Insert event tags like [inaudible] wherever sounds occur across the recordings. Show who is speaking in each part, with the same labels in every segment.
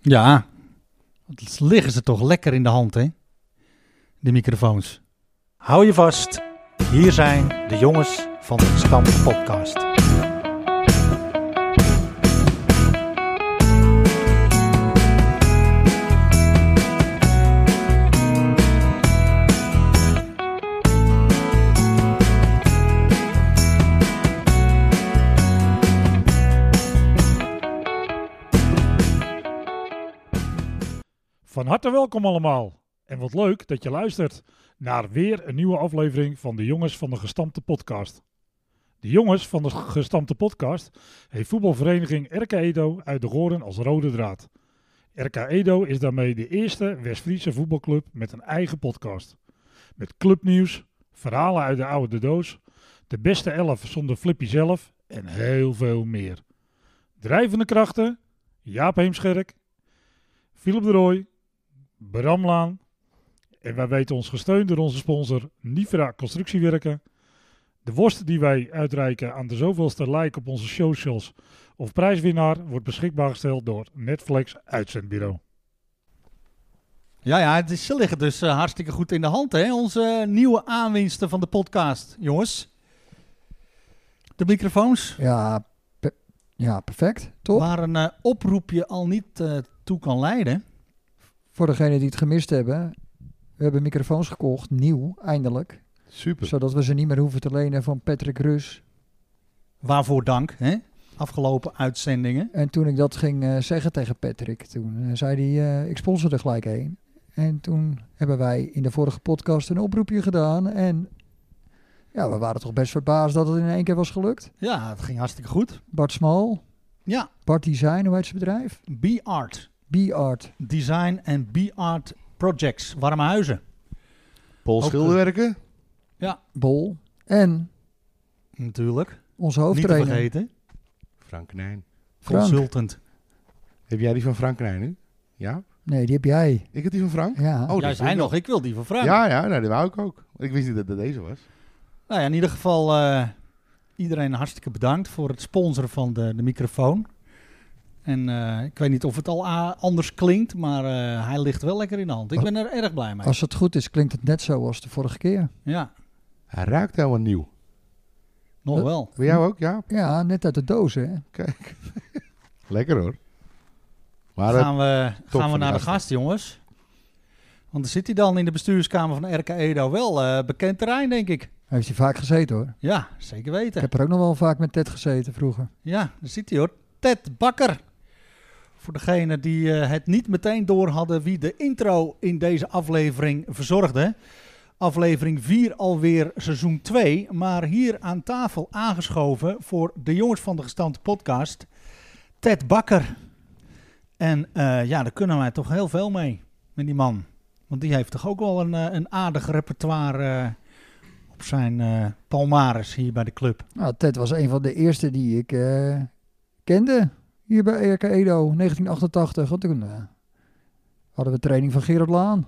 Speaker 1: Ja, want liggen ze toch lekker in de hand, hè? De microfoons. Hou je vast, hier zijn de jongens van de Stam Podcast.
Speaker 2: Van harte welkom allemaal. En wat leuk dat je luistert naar weer een nieuwe aflevering van de Jongens van de Gestampte Podcast. De Jongens van de Gestampte Podcast heeft voetbalvereniging RK Edo uit de Goren als rode draad. RK Edo is daarmee de eerste West-Friese voetbalclub met een eigen podcast. Met clubnieuws, verhalen uit de oude doos, de beste elf zonder Flippy zelf en heel veel meer. Drijvende krachten, Jaap Heemscherk, Philip de Rooij, Bramlaan. En wij weten ons gesteund door onze sponsor Nivra Constructiewerken. De worst die wij uitreiken aan de zoveelste like op onze socials of prijswinnaar wordt beschikbaar gesteld door Netflix Uitzendbureau.
Speaker 1: Ja, ja, het is, ze liggen dus eh, hartstikke goed in de hand, hè? Onze eh, nieuwe aanwinsten van de podcast, jongens. De microfoons,
Speaker 3: Ja, pe- ja perfect. Top.
Speaker 1: waar een eh, oproepje al niet eh, toe kan leiden.
Speaker 3: Voor degenen die het gemist hebben. We hebben microfoons gekocht, nieuw, eindelijk.
Speaker 4: Super.
Speaker 3: Zodat we ze niet meer hoeven te lenen van Patrick Rus.
Speaker 1: Waarvoor dank, hè? Afgelopen uitzendingen.
Speaker 3: En toen ik dat ging eh, zeggen tegen Patrick, toen eh, zei hij, eh, ik sponsor er gelijk heen. En toen hebben wij in de vorige podcast een oproepje gedaan. En ja, we waren toch best verbaasd dat het in één keer was gelukt.
Speaker 1: Ja, het ging hartstikke goed.
Speaker 3: Bart Smal,
Speaker 1: Ja,
Speaker 3: Bart Design, hoe heet zijn bedrijf?
Speaker 1: B-Art.
Speaker 3: B-Art.
Speaker 1: Design en B-Art Projects, warme huizen.
Speaker 4: Paul
Speaker 1: Ook,
Speaker 4: Schilderwerken.
Speaker 3: Bol. En
Speaker 1: Natuurlijk.
Speaker 3: onze
Speaker 1: Niet te
Speaker 3: hoofdtrainer,
Speaker 1: vergeten.
Speaker 4: Frank Oh, Nijn.
Speaker 3: Frank.
Speaker 1: Consultant.
Speaker 4: Heb jij die van Frank Nijn nu? Ja?
Speaker 3: Nee, die heb jij.
Speaker 4: Ik heb die van Frank?
Speaker 3: Ja.
Speaker 4: Oh,
Speaker 1: Jij zei
Speaker 4: dat wil ik
Speaker 1: nog, ik wil die van Frank.
Speaker 4: Ja, ja, nou, die wou ik ook. Ik wist niet dat dat deze was.
Speaker 1: Nou ja, in ieder geval eh, iedereen hartstikke bedankt voor het sponsoren van de, de microfoon. En eh, ik weet niet of het al a- anders klinkt, maar eh, hij ligt wel lekker in de hand. Ik ben er erg blij mee.
Speaker 3: Als het goed is, klinkt het net zo als de vorige keer.
Speaker 1: Ja,
Speaker 4: Hij ruikt helemaal nieuw.
Speaker 1: nog
Speaker 3: Huh?
Speaker 1: wel.
Speaker 4: Bij jou ook, ja?
Speaker 3: Ja, net uit de doos, hè?
Speaker 4: Lekker hoor. Maar eh,
Speaker 1: gaan we,
Speaker 4: top
Speaker 1: gaan we
Speaker 4: van de
Speaker 1: naar de
Speaker 4: gasten.
Speaker 1: gast, jongens. Want dan zit hij dan in de bestuurskamer van RK Edo. Wel eh, bekend terrein, denk ik.
Speaker 3: Heeft hij vaak gezeten, hoor.
Speaker 1: Ja, zeker
Speaker 3: Ik
Speaker 1: weten.
Speaker 3: heb er ook nog wel vaak met Ted gezeten vroeger.
Speaker 1: Ja, daar zit hij hoor. Ted Bakker. Voor degenen die eh, het niet meteen door hadden wie de intro in deze aflevering verzorgde. Aflevering 4 alweer seizoen 2. Maar hier aan tafel aangeschoven voor de jongens van de gestampte podcast. Ted Bakker. En eh, ja, daar kunnen wij toch heel veel mee met die man. Want die heeft toch ook wel een, eh, een aardig repertoire eh, op zijn eh palmares hier bij de club.
Speaker 3: Nou, Ted was een van de eerste die ik eh, kende. Hier bij ERK Edo, 1988. Want toen eh, hadden we training van Gerard Laan.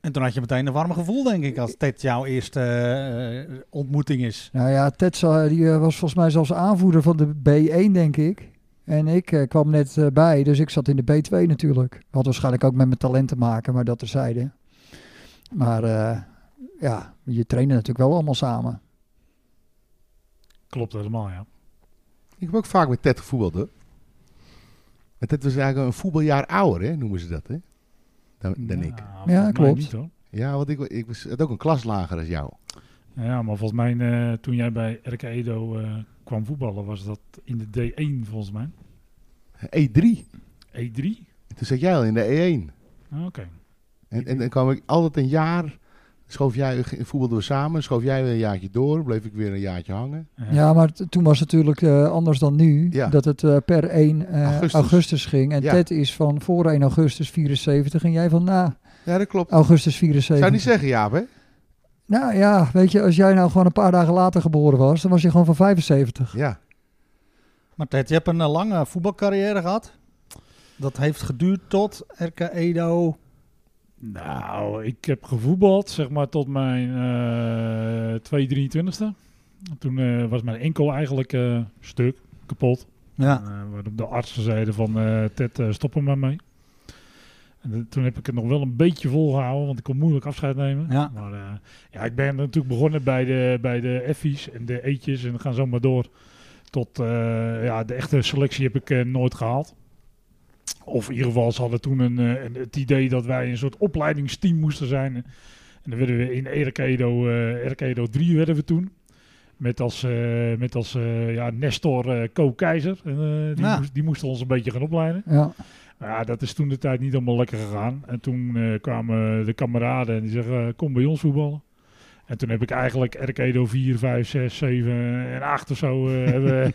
Speaker 1: En toen had je meteen een warm gevoel, denk ik, als dit jouw eerste eh, ontmoeting is.
Speaker 3: Nou ja, Ted za- die, eh, was volgens mij zelfs aanvoerder van de B1, denk ik. En ik eh, kwam net eh, bij, dus ik zat in de B2 natuurlijk. Had waarschijnlijk ook met mijn talent te maken, maar dat terzijde. Maar eh, ja, je trainde natuurlijk wel allemaal samen.
Speaker 2: Klopt helemaal, ja.
Speaker 4: eh, ik heb ook vaak met Ted gevoetbald hoor. En Ted was eigenlijk een voetbaljaar ouder, hè, noemen ze dat, hè? Dan, dan ik.
Speaker 2: Ja, volgens mij
Speaker 3: klopt.
Speaker 2: niet, hoor.
Speaker 4: Ja, want ik, ik was had ook een klas lager als jou.
Speaker 2: Ja, maar volgens mij eh, toen jij bij RK Edo eh, kwam voetballen was dat in de D1 volgens mij.
Speaker 4: E3.
Speaker 2: E3?
Speaker 4: E En toen zat jij al in de E1.
Speaker 2: Ah, Oké.
Speaker 4: En, en dan kwam ik altijd een jaar... Schoof jij, voetbalden we samen, schoof jij weer een jaartje door, bleef ik weer een jaartje hangen.
Speaker 3: Ja, maar t- toen was het natuurlijk eh, anders dan nu.
Speaker 4: Ja.
Speaker 3: Dat het eh, per 1 eh, augustus.
Speaker 4: Augustus.
Speaker 3: ging. En
Speaker 4: Ja.
Speaker 3: Ted is van voor 1 augustus 74 en jij van na
Speaker 4: Ja, dat klopt.
Speaker 3: augustus
Speaker 4: Zou
Speaker 3: 74.
Speaker 4: je niet zeggen, Jaap, hè?
Speaker 3: Nou ja, weet je, als jij nou gewoon een paar dagen later geboren was, dan was je gewoon van 75.
Speaker 4: Ja.
Speaker 1: Maar Ted, je hebt een eh, lange voetbalcarrière gehad. Dat heeft geduurd tot RK Edo.
Speaker 2: Nou, ik heb gevoetbald zeg maar tot mijn eh 223ste. Toen eh, was mijn enkel eigenlijk eh, stuk, kapot.
Speaker 1: Ja.
Speaker 2: Eh, waarop de artsen zeiden van eh Ted, eh, stop er maar mee. En toen heb ik het nog wel een beetje volgehouden, want ik kon moeilijk afscheid nemen.
Speaker 1: Ja.
Speaker 2: Maar eh, ja, ik ben natuurlijk begonnen bij de, bij de F's en de E'tjes en gaan zo maar door. Tot eh, ja, de echte selectie heb ik eh, nooit gehaald. Of in ieder geval, ze hadden toen een, eh, een- het idee dat wij een soort opleidingsteam moesten zijn. En dan werden we in Erkedo, eh Erkedo 3 werden we toen. Met als, eh, met als eh, ja, Nestor eh Co. Keizer. En, eh, die,
Speaker 1: Ja.
Speaker 2: moest, die moesten ons een beetje gaan opleiden.
Speaker 3: Ja,
Speaker 2: Maar Ja, dat is toen de tijd niet allemaal lekker gegaan. En toen eh, kwamen de kameraden en die zeggen, eh, kom bij ons voetballen. En toen heb ik eigenlijk Erkedo 4, 5, 6, 7 en 8 of zo eh, hebben, [laughs]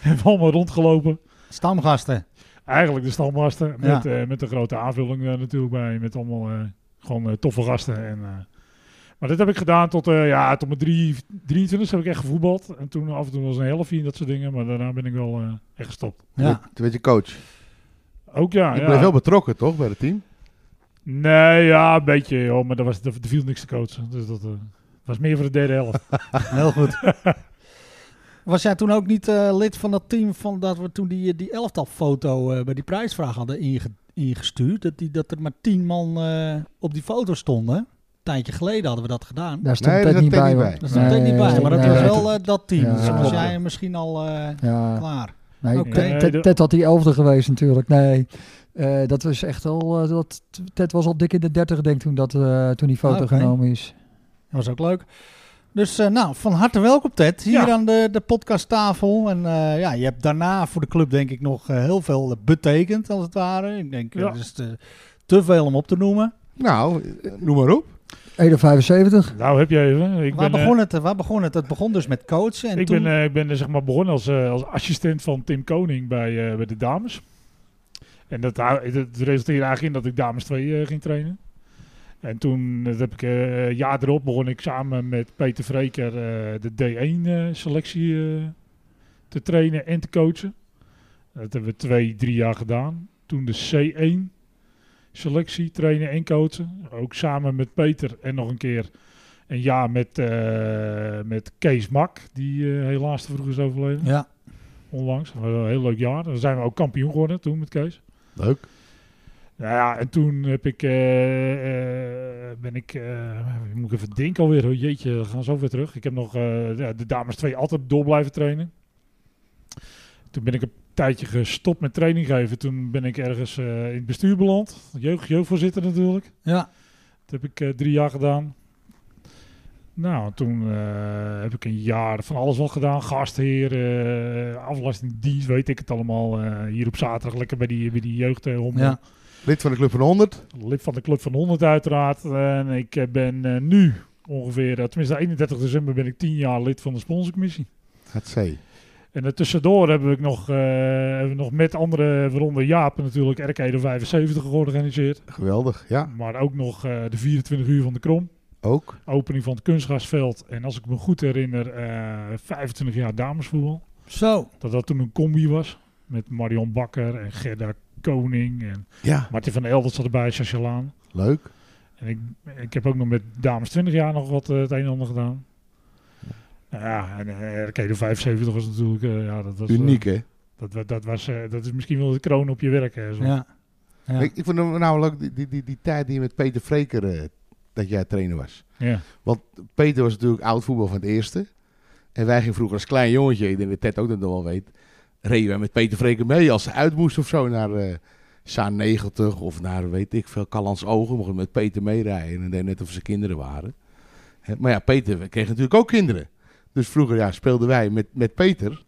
Speaker 2: hebben we allemaal rondgelopen.
Speaker 1: Stamgasten.
Speaker 2: Eigenlijk de stalmaster
Speaker 1: Ja.
Speaker 2: met, eh, met een grote aanvulling daar natuurlijk bij. Met allemaal eh, gewoon eh, toffe gasten. En, eh, maar dat heb ik gedaan tot, eh, ja, tot mijn drie- 23 heb ik echt gevoetbald. En toen af en toe was een helftje en dat soort dingen. Maar daarna ben ik wel eh, echt gestopt.
Speaker 1: Ja.
Speaker 4: Toen werd je coach.
Speaker 2: Ook ja.
Speaker 4: je
Speaker 2: Nou ja.
Speaker 4: bent wel betrokken, toch, bij het team?
Speaker 2: Nee, ja, een beetje, joh, maar daar was, er viel niks te coachen. Dus dat eh, was meer voor de derde
Speaker 1: [laughs]
Speaker 2: helft.
Speaker 1: Heel
Speaker 3: [laughs]
Speaker 1: goed. Was jij toen ook niet eh, lid van dat team van dat we toen die, die elftalfoto eh, bij die prijsvraag hadden inge- ingestuurd? Dat, die, dat er maar tien man eh, op die foto stonden. Een tijdje geleden hadden we dat gedaan.
Speaker 3: daar stond
Speaker 4: Nee,
Speaker 3: Ted
Speaker 4: daar
Speaker 3: niet
Speaker 4: zat Ted
Speaker 3: bij.
Speaker 4: niet
Speaker 3: hoor.
Speaker 4: bij.
Speaker 1: Dat stond
Speaker 3: Nee,
Speaker 1: ik niet bij,
Speaker 3: nee,
Speaker 1: maar dat
Speaker 3: nee,
Speaker 1: was
Speaker 3: nee.
Speaker 1: wel eh, dat team.
Speaker 3: Ja,
Speaker 1: dus dan
Speaker 4: klopt.
Speaker 1: was jij misschien al eh,
Speaker 3: Ja,
Speaker 1: klaar.
Speaker 3: nee,
Speaker 1: Oké.
Speaker 3: Ted- Ted,
Speaker 2: Nee,
Speaker 3: Ted had die elfde geweest natuurlijk. Nee, Eh, dat was echt al... eh, dat, Ted was al dik in de dertig, denk ik, toen, dat, eh, toen die foto
Speaker 1: Ah, Oké.
Speaker 3: genomen is.
Speaker 1: Dat was ook leuk. Dus eh, nou, van harte welkom Ted, hier
Speaker 2: Ja.
Speaker 1: aan de, de podcasttafel. En eh, ja, je hebt daarna voor de club denk ik nog eh, heel veel eh, betekend, als het ware. Ik denk, eh,
Speaker 2: Ja.
Speaker 1: er is te, te veel om op te noemen.
Speaker 4: Nou, eh, noem maar op.
Speaker 3: 1,75.
Speaker 2: Nou, heb je even. Ik
Speaker 1: waar,
Speaker 2: ben, eh,
Speaker 1: begon het, eh, waar begon het? Het begon dus met coachen. En
Speaker 2: ik,
Speaker 1: toen,
Speaker 2: ben, eh, ik ben eh, zeg maar begonnen als, eh, als assistent van Tim Koning bij, eh, bij de dames. En dat, hou- dat resulteerde eigenlijk in dat ik dames 2 ging trainen. En toen eh, dat heb ik eh, een jaar erop begon ik samen met Peter Vreker eh, de D1 eh, selectie eh, te trainen en te coachen. Dat hebben we twee, drie jaar gedaan. Toen de C1 selectie trainen en coachen. Ook samen met Peter en nog een keer een jaar met, eh, met Kees Mak, die eh, helaas te vroeg is overleden.
Speaker 1: ja.
Speaker 2: Onlangs. Dat was een heel leuk jaar. Dan zijn we ook kampioen geworden toen met Kees.
Speaker 4: Leuk.
Speaker 2: Nou ja, en toen heb ik, eh, eh, ben ik, eh, moet ik even denken alweer, oh jeetje, we gaan zo weer terug. Ik heb nog eh, ja, de dames 2 altijd door blijven trainen. Toen ben ik een tijdje gestopt met training geven. Toen ben ik ergens eh, in het bestuur beland. Jeugd, jeugdvoorzitter natuurlijk.
Speaker 1: ja,
Speaker 2: Dat heb ik eh, drie jaar gedaan. Nou, toen eh, heb ik een jaar van alles wat gedaan. Gastheer, eh aflastingdienst, weet ik het allemaal. Eh, hier op zaterdag lekker bij die, bij die jeugd eh, hommel.
Speaker 1: Ja.
Speaker 4: Lid van de Club van 100.
Speaker 2: Lid van de Club van 100 uiteraard. En ik eh, ben eh, nu ongeveer, eh, tenminste 31 december ben ik 10 jaar lid van de sponsorcommissie.
Speaker 4: Gaat C.
Speaker 2: En er tussendoor hebben we nog, eh, hebben we nog met andere, waaronder Jaap natuurlijk, RK de 75 georganiseerd.
Speaker 4: Geweldig, ja.
Speaker 2: Maar ook nog eh, de 24 uur van de Krom.
Speaker 4: Ook.
Speaker 2: Opening van het kunstgrasveld. En als ik me goed herinner, eh 25 jaar damesvoetbal.
Speaker 1: zo.
Speaker 2: Dat dat toen een combi was. Met Marion Bakker en Gerda Koning. En
Speaker 4: Ja.
Speaker 2: Martin van Eldert zat erbij, Sascha Laan.
Speaker 4: Leuk.
Speaker 2: En ik, ik heb ook nog met dames 20 jaar nog wat eh, het een en ander gedaan. Nou ja, en eh, RK de 75 was natuurlijk... eh, ja, dat was, eh,
Speaker 4: Uniek, hè?
Speaker 2: dat, wa- dat, was, eh, dat is misschien wel de kroon op je werk. Hè, zo.
Speaker 1: Ja. Ja.
Speaker 4: Ik, ik vond hem namelijk die, die, die, die tijd die je met Peter Vreker, eh, dat jij trainer was.
Speaker 2: Ja.
Speaker 4: Peter was natuurlijk oud voetbal van het eerste. En wij gingen vroeger als klein jongetje, ik denk dat Ted ook dat nog wel weet, reden wij met Peter Vreker mee als ze uit moest of zo naar eh Saan 90 of naar, weet ik veel, Callans Ogen. Mochten we met Peter meerijden en deed net of ze kinderen waren. Hè, Maar ja, Peter kreeg natuurlijk ook kinderen. Dus vroeger ja, speelden wij met, met Peter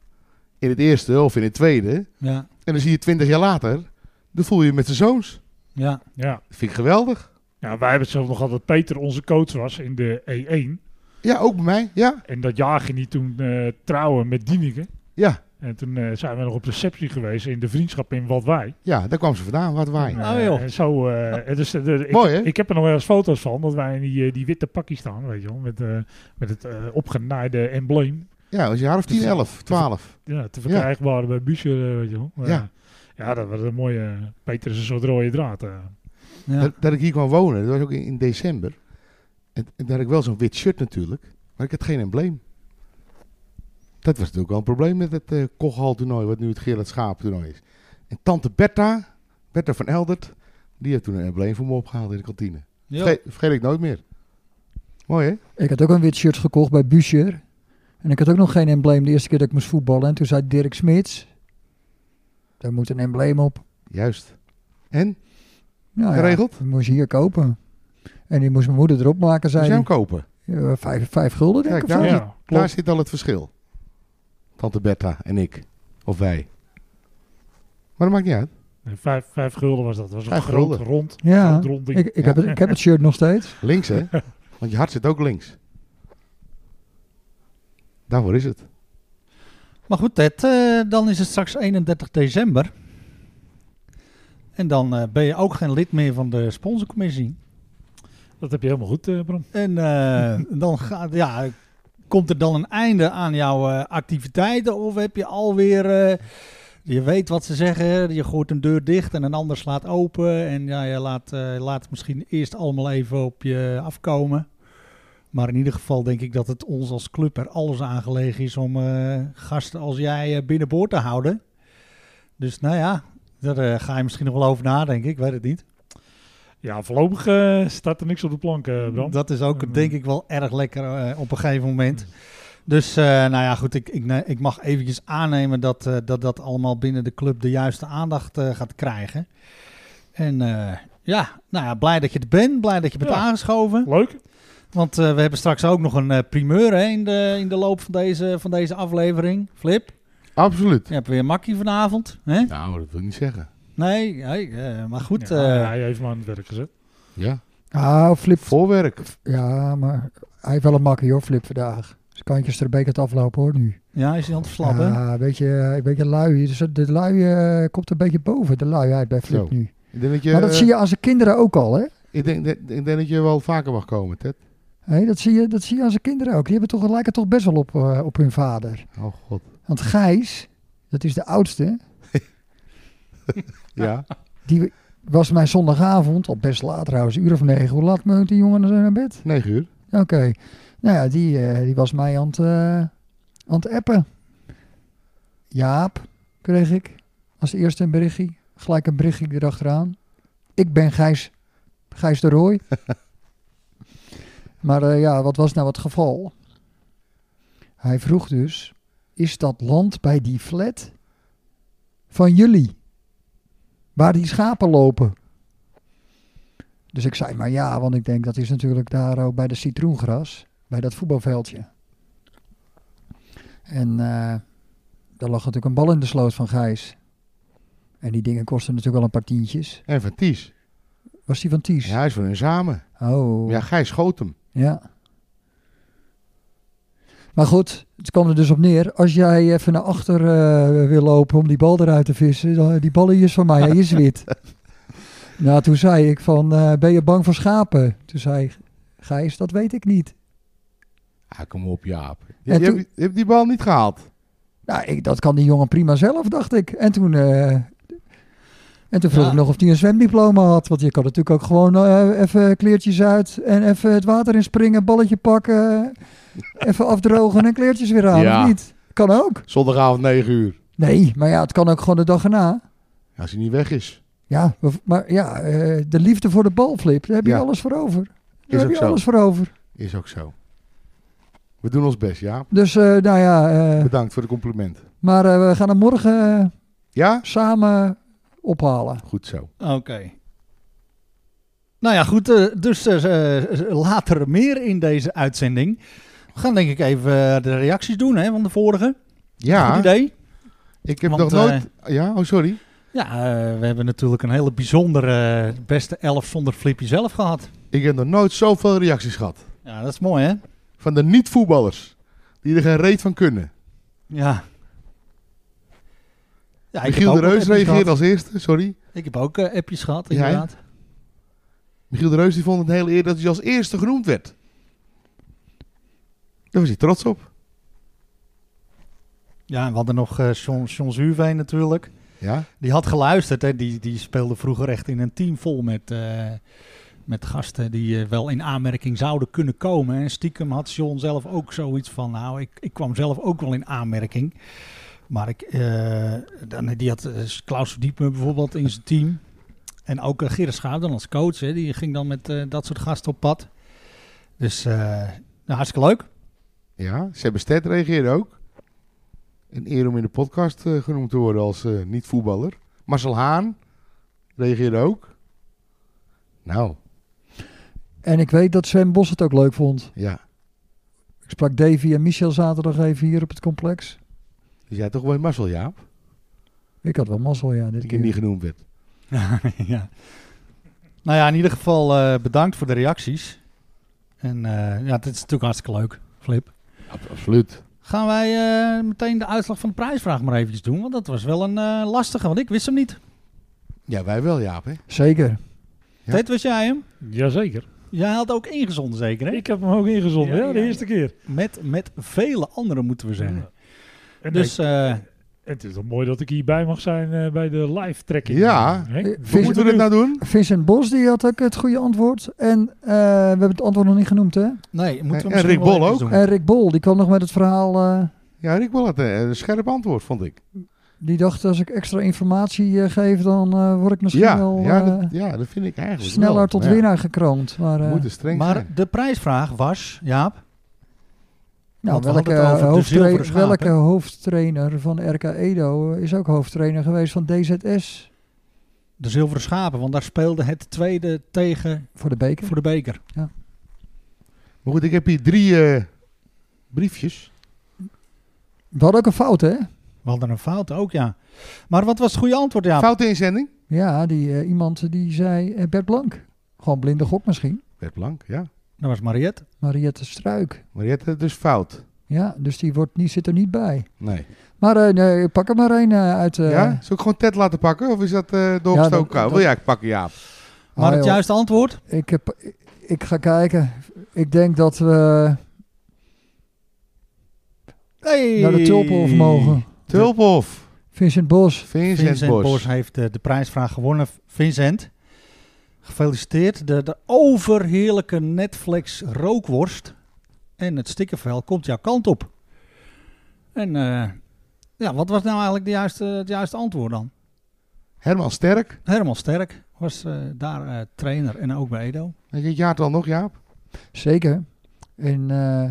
Speaker 4: in het eerste of in het tweede.
Speaker 1: Ja,
Speaker 4: En dan zie je twintig jaar later, dan voel je je met zijn zoons.
Speaker 1: ja,
Speaker 2: Ja.
Speaker 4: Dat vind ik geweldig.
Speaker 2: ja, wij hebben het zelf nog altijd Peter onze coach was in de E1.
Speaker 4: Ja, ook bij mij. Ja,
Speaker 2: En dat jaar ging hij toen eh, trouwen met Dieneke.
Speaker 4: ja,
Speaker 2: En toen eh, zijn we nog op receptie geweest in de vriendschap in Watwij.
Speaker 4: ja daar kwam ze vandaan, wat waai.
Speaker 2: Eh,
Speaker 1: Oh, joh.
Speaker 2: En zo, eh, dus, eh, de- ik,
Speaker 4: Mooi, hè?
Speaker 2: ik heb er nog wel eens foto's van, dat wij in die, eh, die witte pakjes staan, weet je wel. Met, eh, met het eh, opgenaaide embleem.
Speaker 4: Ja, dat was een jaar of
Speaker 1: Dus-
Speaker 4: 10, 11, 12.
Speaker 2: ja, te verkrijgen waren bij Buescher, eh, weet je wel. Eh,
Speaker 4: Ja.
Speaker 2: ja, dat was een mooie... Peter is een soort rode draad. eh.
Speaker 1: ja.
Speaker 4: Dat, dat ik hier kwam wonen, dat was ook in, in december. En, en daar had ik wel zo'n wit shirt natuurlijk, maar ik had geen embleem. Dat was natuurlijk wel een probleem met het eh Kochal toernooi, wat nu het Gerard Schaap toernooi is. En tante Bertha, Bertha van Eldert, Die heeft toen een embleem voor me opgehaald in de kantine.
Speaker 1: Ja.
Speaker 4: Vergeet, vergeet ik nooit meer. Mooi hè?
Speaker 3: Ik had ook een wit shirt gekocht bij Buescher. En ik had ook nog geen embleem de eerste keer dat ik moest voetballen. En toen zei Dirk Smits, daar moet een embleem op.
Speaker 4: Juist. En?
Speaker 3: Nou ja,
Speaker 4: Geregeld?
Speaker 3: die moest je hier kopen. En die moest mijn moeder erop maken,
Speaker 4: Moest
Speaker 3: zei
Speaker 4: jij hem
Speaker 3: hij.
Speaker 4: kopen?
Speaker 3: Ja, Vijf, vijf gulden denk ik
Speaker 4: Kijk,
Speaker 3: of zo.
Speaker 2: Ja,
Speaker 4: daar- Daar
Speaker 2: klopt.
Speaker 4: zit al het verschil. Tante Bertha en ik. Of wij. Maar dat maakt niet uit.
Speaker 2: Nee, Vijf, vijf gulden was dat. Dat was een
Speaker 4: Vijf
Speaker 2: groot,
Speaker 4: gulden.
Speaker 2: rond,
Speaker 3: Ja,
Speaker 2: groot rond ding.
Speaker 3: ik, ik,
Speaker 4: Ja.
Speaker 3: Heb het, ik heb het shirt nog steeds.
Speaker 4: Links
Speaker 3: [laughs]
Speaker 4: hè? Want je hart zit ook links. Daarvoor is het.
Speaker 1: Maar goed, Ted, eh, dan is het straks 31 december. En dan eh, ben je ook geen lid meer van de sponsorcommissie.
Speaker 2: Dat heb je helemaal goed, eh, Bram.
Speaker 1: En eh, dan gaat, ja, komt er dan een einde aan jouw eh, activiteiten? Of heb je alweer, eh, je weet wat ze zeggen, je gooit een deur dicht en een ander slaat open. En ja, je laat, eh, laat het misschien eerst allemaal even op je afkomen. Maar in ieder geval denk ik dat het ons als club er alles aan gelegen is om eh, gasten als jij eh, binnenboord te houden. Dus nou ja, daar eh, ga je misschien nog wel over nadenken, ik weet het niet.
Speaker 2: Ja, voorlopig eh, staat er niks op de plank, eh, Bram.
Speaker 1: Mm, Dat is ook
Speaker 2: Ehm.
Speaker 1: denk ik wel erg lekker eh, op een gegeven moment.
Speaker 2: Mm.
Speaker 1: Dus eh, nou ja, goed, ik, ik, ne- ik mag eventjes aannemen dat, eh, dat dat allemaal binnen de club de juiste aandacht eh, gaat krijgen. En eh, ja, nou ja, blij dat je er bent, blij dat je bent
Speaker 2: Ja.
Speaker 1: aangeschoven.
Speaker 2: Leuk.
Speaker 1: Want eh, we hebben straks ook nog een eh, primeur hè, in, de, in de loop van deze, van deze aflevering. Flip,
Speaker 4: Absoluut.
Speaker 1: je hebt weer makkie vanavond. Hè?
Speaker 4: Nou, dat wil ik niet zeggen.
Speaker 1: Nee, nee, eh, maar goed.
Speaker 2: Ja,
Speaker 1: eh,
Speaker 2: hij heeft me aan het werk gezet.
Speaker 4: Ja.
Speaker 3: Ah, Flip.
Speaker 4: Voorwerk.
Speaker 3: Ja, maar hij heeft wel een makkie hoor, Flip vandaag. Dus kantjes er een beetje aan het aflopen hoor nu.
Speaker 1: ja, is hij aan het verslappen?
Speaker 3: Ja, een beetje, een beetje lui. Dus de lui eh, komt een beetje boven, de luiheid bij Flip
Speaker 4: Zo.
Speaker 3: nu.
Speaker 4: Ik denk dat je, eh,
Speaker 3: Maar dat zie je aan zijn kinderen ook al, hè?
Speaker 4: Ik denk, dat- ik denk dat je wel vaker mag komen, Ted.
Speaker 3: Hé, dat, zie je, dat zie je aan zijn kinderen ook. Die hebben toch, lijken toch best wel op, eh, op hun vader.
Speaker 4: Oh god.
Speaker 3: Want Gijs, dat is de oudste,
Speaker 4: Ja.
Speaker 3: die was mijn zondagavond, al best laat trouwens, een uur of negen. Hoe laat moet die jongen dan naar bed?
Speaker 4: 9 uur.
Speaker 3: Oké. Nou ja, die, eh, die was mij aan het, eh, aan het appen. Jaap kreeg ik als eerste een berichtje. Gelijk een berichtje erachteraan. Ik ben Gijs, Gijs de Rooij. maar eh, ja, wat was nou het geval? Hij vroeg dus, is dat land bij die flat van jullie? Waar die schapen lopen? Dus ik zei maar ja, want ik denk dat is natuurlijk daar ook bij de citroengras, bij dat voetbalveldje. En eh, daar lag natuurlijk een bal in de sloot van Gijs. En die dingen kosten natuurlijk wel een paar tientjes.
Speaker 4: En van Ties.
Speaker 3: Was die van Ties?
Speaker 4: Ja, hij is van hun samen.
Speaker 3: Oh,
Speaker 4: Ja, Gijs schoot hem.
Speaker 3: ja. Maar goed, het kwam er dus op neer. Als jij even naar achter eh, wil lopen om die bal eruit te vissen, dan, eh, die bal hier is van mij, hij is wit. nou, toen zei ik van, eh, ben je bang voor schapen? Toen zei Gijs, dat weet ik niet.
Speaker 4: Ah, kom op Jaap. Je,
Speaker 3: En
Speaker 4: je
Speaker 3: toen-
Speaker 4: hebt, je hebt die bal niet gehaald.
Speaker 3: Nou, ik, dat kan die jongen prima zelf, dacht ik. En toen, eh, en toen vroeg
Speaker 1: Ja.
Speaker 3: ik nog of hij een zwemdiploma had. Want je kan natuurlijk ook gewoon eh, even kleertjes uit en even het water in springen, balletje
Speaker 4: [laughs]
Speaker 3: pakken, even afdrogen en kleertjes weer aan.
Speaker 4: Ja.
Speaker 3: Of niet? Kan ook.
Speaker 4: Zondagavond 9 uur.
Speaker 3: Nee, maar ja, het kan ook gewoon de dag erna.
Speaker 4: Als hij niet weg is.
Speaker 3: Ja, we- maar ja, eh, de liefde voor de balflip, daar heb je
Speaker 4: Ja.
Speaker 3: alles voor over. Daar
Speaker 4: Is
Speaker 3: heb
Speaker 4: ook
Speaker 3: je
Speaker 4: zo.
Speaker 3: alles voor over.
Speaker 4: Is ook zo. We doen ons best, Jaap.
Speaker 3: Dus eh, nou ja, eh,
Speaker 4: Bedankt voor de compliment.
Speaker 3: maar eh, we gaan hem morgen eh,
Speaker 4: Ja?
Speaker 3: samen ophalen.
Speaker 4: Goed zo.
Speaker 1: Oké. Nou ja, goed. eh, Dus eh, eh, later meer in deze uitzending. We gaan denk ik even eh, de reacties doen hè, van de vorige. Goed
Speaker 4: Ja,
Speaker 1: idee.
Speaker 4: ik heb
Speaker 1: Want, eh,
Speaker 3: eh,
Speaker 4: nog nooit... Ja, oh sorry.
Speaker 1: Ja, eh, we hebben natuurlijk een hele bijzondere eh, beste elf zonder Flipje zelf gehad.
Speaker 4: Ik heb nog nooit zoveel reacties gehad.
Speaker 1: Ja, dat is mooi hè?
Speaker 4: Van de niet-voetballers. Die er geen reet van kunnen.
Speaker 1: Ja. ja ik heb
Speaker 4: Michiel
Speaker 1: ook
Speaker 4: de
Speaker 1: wat
Speaker 4: Reus
Speaker 1: appjes gehad.
Speaker 4: reageerde als eerste, sorry.
Speaker 1: Ik heb ook eh, appjes gehad,
Speaker 4: Ja,
Speaker 1: inderdaad.
Speaker 4: Michiel de Reus die vond het een hele eer dat hij als eerste genoemd werd. Daar was hij trots op.
Speaker 1: Ja, en we hadden nog eh John, John Zuurveen natuurlijk.
Speaker 4: Ja,
Speaker 1: Die had geluisterd, hè? Die, die speelde vroeger echt in een team vol met, eh, met gasten die eh, wel in aanmerking zouden kunnen komen. En stiekem had John zelf ook zoiets van, nou, ik, ik kwam zelf ook wel in aanmerking. eh, Maar ik, eh, dan, die had eh, Klaus Diepme bijvoorbeeld in zijn team. En ook eh, Gerrit Schaap dan als coach, hè, die ging dan met eh, dat soort gasten op pad. Dus eh, nou, hartstikke leuk.
Speaker 4: Ja, Sebastet reageerde ook. Een eer om in de podcast eh, genoemd te worden als eh, niet-voetballer. Marcel Haan reageerde ook. Nou,
Speaker 3: En ik weet dat Sven Bos het ook leuk vond.
Speaker 4: ja.
Speaker 3: Ik sprak Davy en Michel zaterdag even hier op het complex.
Speaker 4: Dus jij toch wel Marcel, Jaap?
Speaker 3: Ik had wel mazzel, ja, dit
Speaker 4: Dat je
Speaker 3: keer.
Speaker 4: niet genoemd werd.
Speaker 1: [laughs] ja. Nou ja, in ieder geval eh, bedankt voor de reacties. En eh, ja, dit is natuurlijk hartstikke leuk, Flip.
Speaker 4: absoluut.
Speaker 1: Gaan wij eh, meteen de uitslag van de prijsvraag maar eventjes doen. Want dat was wel een eh, lastige, want ik wist hem niet.
Speaker 4: Ja, wij wel, Jaap, hè?
Speaker 3: Zeker.
Speaker 4: Ja.
Speaker 1: Ted, wist jij hem?
Speaker 2: Jazeker.
Speaker 1: Jij had ook ingezonden zeker, hè?
Speaker 2: Ik heb hem ook ingezonden,
Speaker 1: Ja,
Speaker 2: ja, de
Speaker 1: ja,
Speaker 2: eerste keer.
Speaker 1: Met, met vele anderen, moeten we zeggen.
Speaker 2: En dus,
Speaker 1: Dus eh,
Speaker 2: het is toch mooi dat ik hierbij mag zijn eh, bij de live trekking.
Speaker 4: Ja.
Speaker 2: Henk,
Speaker 3: Eh,
Speaker 2: wat
Speaker 3: Vincent-
Speaker 4: Hoe moeten we dit nou doen?
Speaker 3: Vincent Bos die had ook het goede antwoord. En eh, we hebben het antwoord nog niet genoemd, hè?
Speaker 1: nee, moeten we
Speaker 4: En
Speaker 1: misschien
Speaker 4: Rick
Speaker 1: wel
Speaker 4: Bol
Speaker 1: eventjes
Speaker 4: ook. Eh,
Speaker 1: doen.
Speaker 3: En Rick Bol, die kwam nog met het verhaal. eh,
Speaker 4: Ja, Rick wel had eh, een scherp antwoord, vond ik.
Speaker 3: die dacht, als ik extra informatie eh, geef, dan eh, word ik misschien
Speaker 4: ja,
Speaker 3: wel
Speaker 4: ja,
Speaker 3: eh,
Speaker 4: dat, ja, dat vind ik eigenlijk
Speaker 3: sneller
Speaker 4: wel.
Speaker 3: tot
Speaker 4: Ja,
Speaker 3: winnaar gekroond. Maar, eh,
Speaker 4: We moeten streng zijn.
Speaker 1: Maar de prijsvraag was, Jaap,
Speaker 3: nou,
Speaker 1: want we hadden
Speaker 3: welke,
Speaker 1: het over de
Speaker 3: hoofdtra-
Speaker 1: zilveren schaap,
Speaker 3: welke
Speaker 1: hè?
Speaker 3: hoofdtrainer van RK Edo eh, is ook hoofdtrainer geweest van DZS
Speaker 1: de zilveren schapen. Want daar speelde het tweede tegen
Speaker 3: voor de beker?
Speaker 1: voor de beker.
Speaker 4: Maar goed, ik heb hier drie eh, briefjes.
Speaker 3: We hadden ook een fout, hè?
Speaker 1: We hadden een fout ook, ja. Maar wat was het goede antwoord, Jaap?
Speaker 4: Foute inzending.
Speaker 3: Ja, die, eh, iemand die zei eh, Bert Blank. Gewoon blinde gok misschien.
Speaker 4: Bert Blank, ja.
Speaker 1: Dat was Mariette.
Speaker 3: Mariette Struik.
Speaker 4: Mariette, dus fout.
Speaker 3: Ja, dus die wordt, niet, zit er niet bij.
Speaker 4: Nee.
Speaker 3: Maar eh, nee, pak er maar een eh, uit. eh,
Speaker 4: ja? Zal ik gewoon Ted laten pakken? Of is dat eh
Speaker 3: Ja,
Speaker 4: doorgestoken
Speaker 3: dat-
Speaker 4: kou?
Speaker 3: dat-
Speaker 4: Wil jij het pakken, Jaap?
Speaker 1: Maar
Speaker 3: ah,
Speaker 1: het
Speaker 3: joh,
Speaker 1: juiste antwoord?
Speaker 3: Ik, heb, ik, ik ga kijken. Ik denk dat we
Speaker 1: Hey.
Speaker 3: naar de Tulpolf mogen.
Speaker 4: Tulphof.
Speaker 3: Vincent Bos.
Speaker 4: Vincent,
Speaker 1: Vincent
Speaker 4: Bos.
Speaker 1: Bos. heeft eh, de prijsvraag gewonnen. Vincent, gefeliciteerd. De, de overheerlijke Netflix rookworst en het stikkervel komt jouw kant op. En eh, ja, wat was nou eigenlijk de juiste, het juiste antwoord dan?
Speaker 4: Herman Sterk.
Speaker 1: Herman Sterk was eh, daar eh, trainer en ook bij Edo.
Speaker 4: Weet je het jaartal nog, Jaap?
Speaker 3: Zeker. In eh,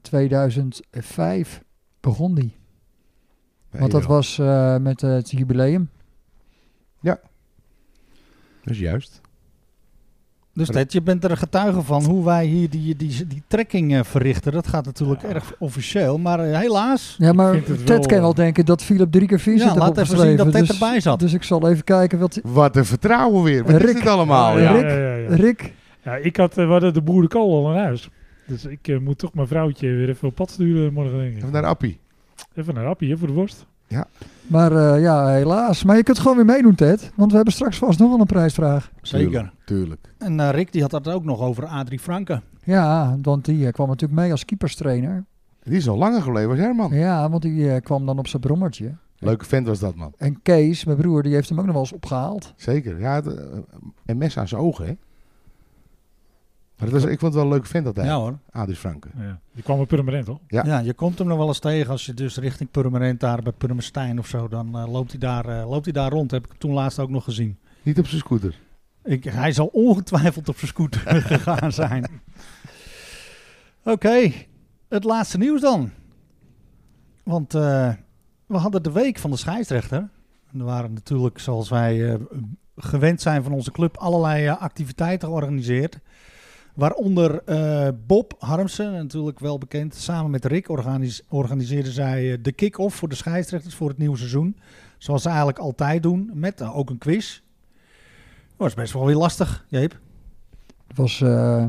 Speaker 3: 2005 begon die. Want dat was eh, met eh, het jubileum.
Speaker 4: Dat is juist.
Speaker 1: Dus
Speaker 4: Maar
Speaker 1: Ted, je bent er getuige van hoe wij hier die, die, die trekking eh, verrichten. Dat gaat natuurlijk
Speaker 2: Ja.
Speaker 1: erg officieel, maar eh, helaas.
Speaker 3: Ja, maar
Speaker 2: vind het
Speaker 3: Ted
Speaker 2: wel-
Speaker 3: kan wel denken dat Philip drie keer vier
Speaker 1: Ja,
Speaker 3: zit
Speaker 1: laat even
Speaker 3: opgeschreven,
Speaker 1: zien dat Ted
Speaker 3: dus-
Speaker 1: erbij zat.
Speaker 3: Dus ik zal even kijken wat...
Speaker 4: Wat een vertrouwen weer. Wat
Speaker 3: Rick.
Speaker 4: is dit allemaal?
Speaker 3: Ja,
Speaker 4: Ja.
Speaker 3: Rick.
Speaker 2: ja, ja, ja.
Speaker 3: Rick,
Speaker 2: Ja, ik had eh, we hadden de boerenkool al in huis. Dus ik eh, moet toch mijn vrouwtje weer even op pad sturen morgen, denk ik.
Speaker 4: Even naar Appie.
Speaker 2: Even naar Appie, hè, voor de worst.
Speaker 3: Maar eh, ja, helaas. Maar je kunt gewoon weer meedoen, Ted. Want we hebben straks vast nog wel een prijsvraag.
Speaker 1: Zeker.
Speaker 4: Tuurlijk. tuurlijk.
Speaker 1: En eh, Rick die had dat ook nog over Adrie Franken.
Speaker 3: Ja, want die eh, kwam natuurlijk mee als keeperstrainer.
Speaker 4: Die is al langer geleden was Herman.
Speaker 3: Ja, want die eh, kwam dan op zijn brommertje.
Speaker 4: Leuke vent was dat, man.
Speaker 3: En Kees, mijn broer, die heeft hem ook nog wel eens opgehaald.
Speaker 4: Zeker. Ja, het, eh, en mes aan zijn ogen, hè? Maar dat was, ik vond het wel een leuke vent dat hij.
Speaker 1: Ja
Speaker 3: Nou.
Speaker 4: Ja.
Speaker 1: hoor.
Speaker 4: Adrie Franken.
Speaker 2: Ja. Die kwam er permanent, hoor.
Speaker 4: Ja.
Speaker 1: Ja. je komt hem nog wel eens tegen als je dus richting Purmerend daar bij Purmerstein of zo. Dan eh, loopt, hij daar, eh, loopt hij daar rond. Heb ik hem toen laatst ook nog gezien.
Speaker 4: Niet op zijn scooter.
Speaker 1: Ik, hij zal ongetwijfeld op zijn scooter [laughs] gegaan zijn. Oké, het laatste nieuws dan. Want eh, we hadden de week van de scheidsrechter. En er waren natuurlijk, zoals wij eh, gewend zijn van onze club, allerlei eh, activiteiten georganiseerd. Waaronder eh, Bob Harmsen, natuurlijk wel bekend, samen met Rick organis- organiseerden zij eh, de kick-off voor de scheidsrechters voor het nieuwe seizoen. Zoals ze eigenlijk altijd doen, met eh, ook een quiz. Oh, Dat was best wel weer lastig, Jeep.
Speaker 3: Het was eh,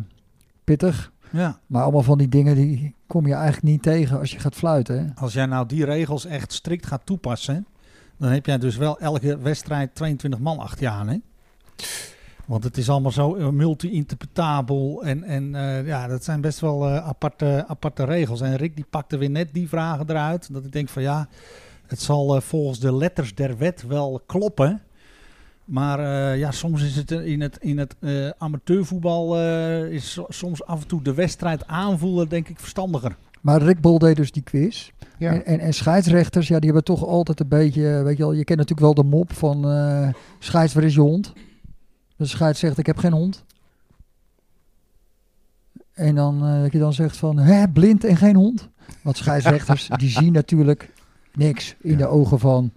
Speaker 3: pittig.
Speaker 1: Ja.
Speaker 3: Maar allemaal van die dingen, die kom je eigenlijk niet tegen als je gaat fluiten. Hè?
Speaker 1: Als jij nou die regels echt strikt gaat toepassen, dan heb jij dus wel elke wedstrijd 22 man achter je aan, hè? Want het is allemaal zo eh, multi-interpretabel en, en eh, ja, dat zijn best wel eh, aparte, aparte regels. En Rick die pakte weer net die vragen eruit, dat ik denk van ja, het zal eh, volgens de letters der wet wel kloppen. Maar eh, ja, soms is het eh, in het, in het eh, amateurvoetbal, eh, is so- soms af en toe de wedstrijd aanvoelen, denk ik, verstandiger.
Speaker 3: Maar Rick Bol deed dus die quiz.
Speaker 4: Ja.
Speaker 3: En, en, en scheidsrechters, ja, die hebben toch altijd een beetje... Weet je, wel, je kent natuurlijk wel de mop van eh scheids, waar is je hond? De scheids zegt, ik heb geen hond. En dan eh, dat je dan zegt van, hè, blind en geen hond? Want
Speaker 4: [laughs]
Speaker 3: scheidsrechters, die zien natuurlijk niks in
Speaker 4: Ja.
Speaker 3: de ogen van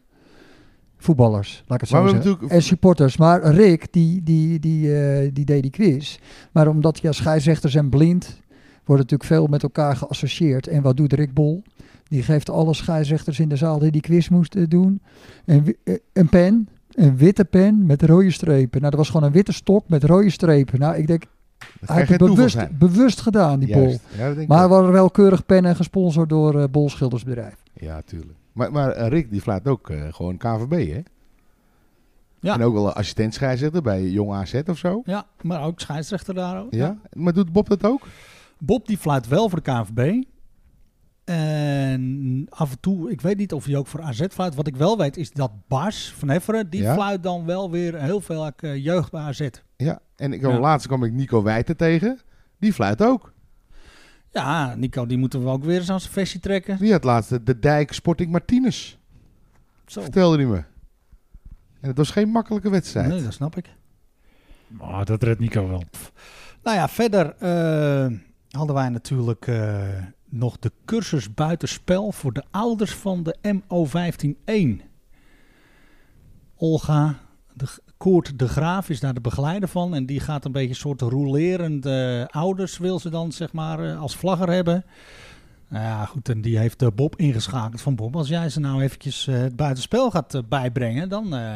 Speaker 3: voetballers, laat ik het zo
Speaker 4: Maar we
Speaker 3: zeggen.
Speaker 4: hebben natuurlijk...
Speaker 3: En supporters. Maar Rick, die, die, die, eh, die deed die quiz. Maar omdat ja, scheidsrechters en blind worden natuurlijk veel met elkaar geassocieerd. En wat doet Rick Bol? Die geeft alle scheidsrechters in de zaal die die quiz moesten doen een, wi- eh, een pen, een witte pen met rode strepen. Nou, dat was gewoon een witte stok met rode strepen. Nou, ik denk,
Speaker 4: dat
Speaker 3: hij
Speaker 4: kan
Speaker 3: heeft
Speaker 4: geen
Speaker 3: het
Speaker 4: toeval
Speaker 3: bewust,
Speaker 4: zijn.
Speaker 3: bewust gedaan, die Bol.
Speaker 4: Juist. Ja, dat denk ik
Speaker 3: Maar er
Speaker 4: ook.
Speaker 3: waren wel keurig pennen gesponsord door eh, Bol Schildersbedrijf.
Speaker 4: Ja, tuurlijk. Maar, maar eh, Rick die fluit ook eh, gewoon KVB, hè?
Speaker 1: Ja.
Speaker 4: En ook wel assistent scheidsrechter bij Jong AZ of zo.
Speaker 1: Ja, maar ook scheidsrechter daar ook.
Speaker 4: Ja? Maar doet Bob dat ook?
Speaker 1: Bob die fluit wel voor de KNVB. En af en toe, ik weet niet of hij ook voor AZ fluit. Wat ik wel weet is dat Bas van Hefferen, die
Speaker 4: Ja.
Speaker 1: fluit dan wel weer heel veel eh, jeugd bij AZ.
Speaker 4: Ja. En ik kwam,
Speaker 1: Ja.
Speaker 4: laatst kwam ik Nico Wijten tegen. Die fluit ook.
Speaker 1: Ja, Nico, die moeten we ook weer eens aan zijn versie trekken.
Speaker 4: Die had laatst de, de Dijk Sporting Martinez.
Speaker 1: Zo.
Speaker 4: Vertelde hij me. En het was geen makkelijke wedstrijd.
Speaker 1: Nee, dat snap ik.
Speaker 2: Maar dat redt Nico wel.
Speaker 1: Nou ja, verder eh, hadden wij natuurlijk eh, nog de cursus buitenspel voor de ouders van de MO151. Olga de G- Koert de Graaf is daar de begeleider van. En die gaat een beetje een soort rolerende ouders, wil ze dan zeg maar eh, als vlagger hebben. Nou ja, goed, en die heeft eh, Bob ingeschakeld van Bob. Als jij ze nou eventjes eh, het buitenspel gaat eh, bijbrengen, dan, eh,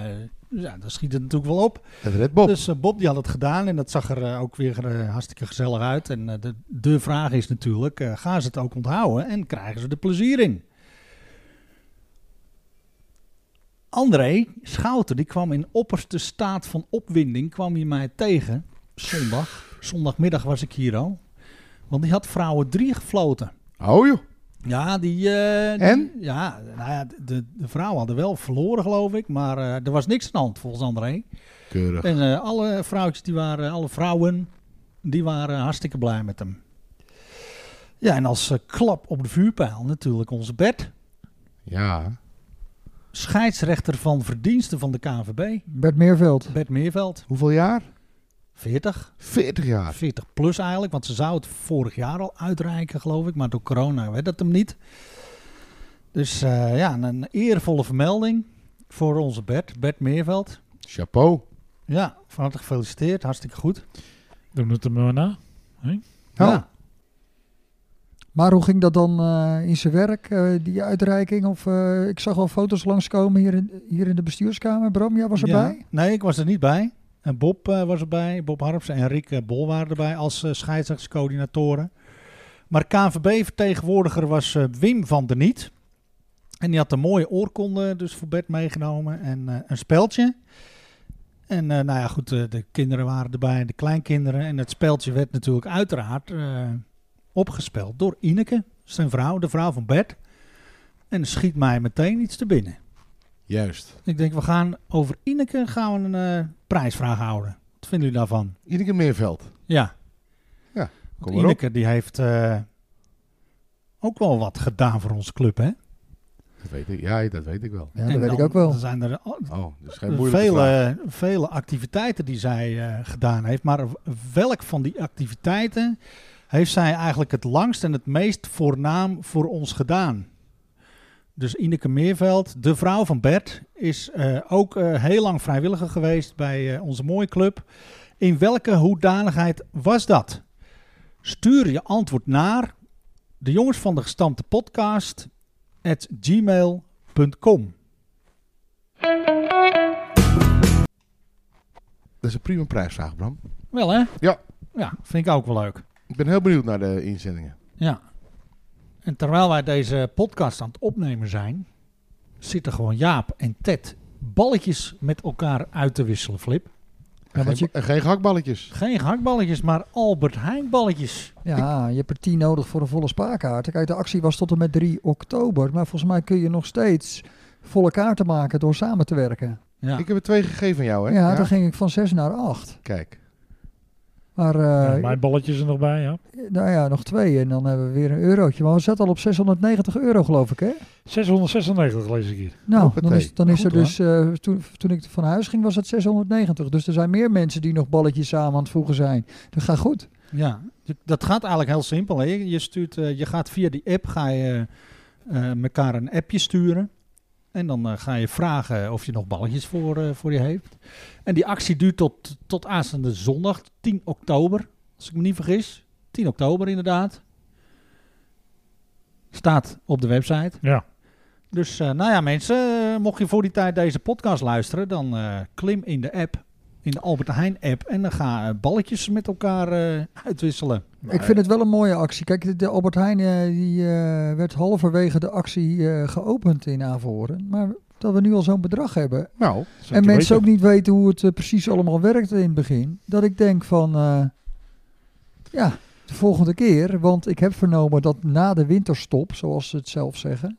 Speaker 1: ja, dan schiet het natuurlijk wel op.
Speaker 4: Dat redt Bob.
Speaker 1: Dus eh, Bob die had het gedaan en dat zag er eh, ook weer eh, hartstikke gezellig uit. En eh, de, de vraag is natuurlijk, eh, gaan ze het ook onthouden en krijgen ze er plezier in? André Schouten, die kwam in opperste staat van opwinding, kwam hij mij tegen. Zondag, zondagmiddag was ik hier al. Want die had vrouwen drie gefloten.
Speaker 4: Oh joh.
Speaker 1: Ja, die... eh, die-
Speaker 4: En?
Speaker 1: ja, nou ja, de, de vrouwen hadden wel verloren geloof ik, maar eh, er was niks aan de hand volgens André.
Speaker 4: Keurig.
Speaker 1: En eh, alle vrouwtjes die waren, alle vrouwen, die waren hartstikke blij met hem. Ja, en als eh, klap op de vuurpijl natuurlijk onze Bert.
Speaker 4: Ja.
Speaker 1: Scheidsrechter van verdiensten van de KNVB.
Speaker 3: Bert Meerveld.
Speaker 1: Bert Meerveld,
Speaker 4: Hoeveel jaar?
Speaker 1: 40.
Speaker 4: 40 jaar.
Speaker 1: 40 plus eigenlijk, want ze zou het vorig jaar al uitreiken geloof ik. Maar door corona werd dat hem niet. Dus eh, ja, een- een eervolle vermelding voor onze Bert, Bert Meerveld.
Speaker 4: Chapeau.
Speaker 1: Ja, van harte gefeliciteerd, hartstikke goed.
Speaker 2: Doen we het hem maar na.
Speaker 4: Nou,
Speaker 1: Ja.
Speaker 3: Maar hoe ging dat dan eh, in zijn werk, eh, die uitreiking? Of, eh, ik zag al foto's langskomen hier in, hier in de bestuurskamer. Bram, jij was erbij?
Speaker 1: Ja. Nee, ik was er niet bij. En Bob eh, was erbij, Bob Harps en Rick eh, Bol waren erbij als eh scheidsrechtscoördinatoren. Maar KNVB-vertegenwoordiger was eh, Wim van der Niet. En die had een mooie oorkonde dus voor Bert meegenomen en eh, een speldje. En eh, nou ja, goed, eh, de kinderen waren erbij, de kleinkinderen. En het speldje werd natuurlijk uiteraard eh, opgespeld door Ineke, zijn vrouw, de vrouw van Bert. En schiet mij meteen iets te binnen.
Speaker 4: Juist.
Speaker 1: Ik denk, we gaan over Ineke gaan we een eh, prijsvraag houden. Wat vinden jullie daarvan?
Speaker 4: Iedere keer Meerveld.
Speaker 1: Ja.
Speaker 4: Ja,
Speaker 1: Want
Speaker 4: kom maar op.
Speaker 1: Ineke die heeft eh, ook wel wat gedaan voor onze club, hè?
Speaker 4: Dat weet ik. Ja, dat weet ik wel.
Speaker 3: Ja, dat
Speaker 1: En
Speaker 3: weet ik
Speaker 1: dan
Speaker 3: ook wel.
Speaker 1: zijn er al-
Speaker 4: Oh, dus geen moeilijke vraag.
Speaker 1: vele, vele activiteiten die zij eh, gedaan heeft. Maar welk van die activiteiten heeft zij eigenlijk het langst en het meest voornaam voor ons gedaan? Dus Ineke Meerveld, de vrouw van Bert, is eh, ook eh, heel lang vrijwilliger geweest bij eh, onze mooie club. In welke hoedanigheid was dat? Stuur je antwoord naar de jongens van de gestampte podcast at gmail.com.
Speaker 4: Dat is een prima prijsvraag, Bram.
Speaker 1: Wel hè?
Speaker 4: Ja.
Speaker 1: Ja, vind ik ook wel leuk.
Speaker 4: Ik ben heel benieuwd naar de inzendingen.
Speaker 1: Ja. En terwijl wij deze podcast aan het opnemen zijn, zitten gewoon Jaap en Ted balletjes met elkaar uit te wisselen, Flip.
Speaker 4: En
Speaker 3: want
Speaker 4: geen, en geen gehaktballetjes.
Speaker 1: Geen gehaktballetjes, maar Albert Heijn balletjes.
Speaker 3: Ja, je hebt er 10 nodig voor een volle spaarkaart. Kijk, de actie was tot en met 3 oktober. Maar volgens mij kun je nog steeds volle kaarten maken door samen te werken.
Speaker 1: Ja.
Speaker 4: Ik heb er twee gegeven aan jou,
Speaker 3: Ja,
Speaker 4: hè?
Speaker 3: dan ging ik van 6 naar 8.
Speaker 4: Kijk.
Speaker 3: Maar eh,
Speaker 2: Ja, mijn balletjes er nog bij, ja.
Speaker 3: nou ja, nog twee en dan hebben we weer een eurotje. Maar we zaten al op 690 euro, geloof ik, hè?
Speaker 2: 696 lees ik hier.
Speaker 3: Nou,
Speaker 4: Hoppatee.
Speaker 3: dan is, dan is er
Speaker 2: Goed,
Speaker 3: dus... eh, toen, toen ik van huis ging, was het 690. Dus er zijn meer mensen die nog balletjes samen aan het voegen zijn. Dat gaat goed.
Speaker 1: Ja, d- dat gaat eigenlijk heel simpel. Hè? Je, stuurt, eh, je gaat via die app ga je, eh, elkaar een appje sturen. En dan eh, ga je vragen of je nog balletjes voor, eh, voor je heeft. En die actie duurt tot, tot aanstaande zondag, 10 oktober. Als ik me niet vergis. 10 oktober inderdaad. Staat op de website.
Speaker 2: Ja.
Speaker 1: Dus eh, nou ja mensen, eh, mocht je voor die tijd deze podcast luisteren, dan eh, klim in de app. In de Albert Heijn app. En dan ga eh, balletjes met elkaar eh, uitwisselen.
Speaker 3: Ik vind het wel een mooie actie. Kijk, de- de Albert Heijn eh, die, eh, werd halverwege de actie eh, geopend in Averhoorn. Maar dat we nu al zo'n bedrag hebben.
Speaker 4: Nou,
Speaker 3: en mensen ook niet weten hoe het eh, precies allemaal werkt in het begin. Dat ik denk van, eh, ja, de volgende keer. Want ik heb vernomen dat na de winterstop, zoals ze het zelf zeggen,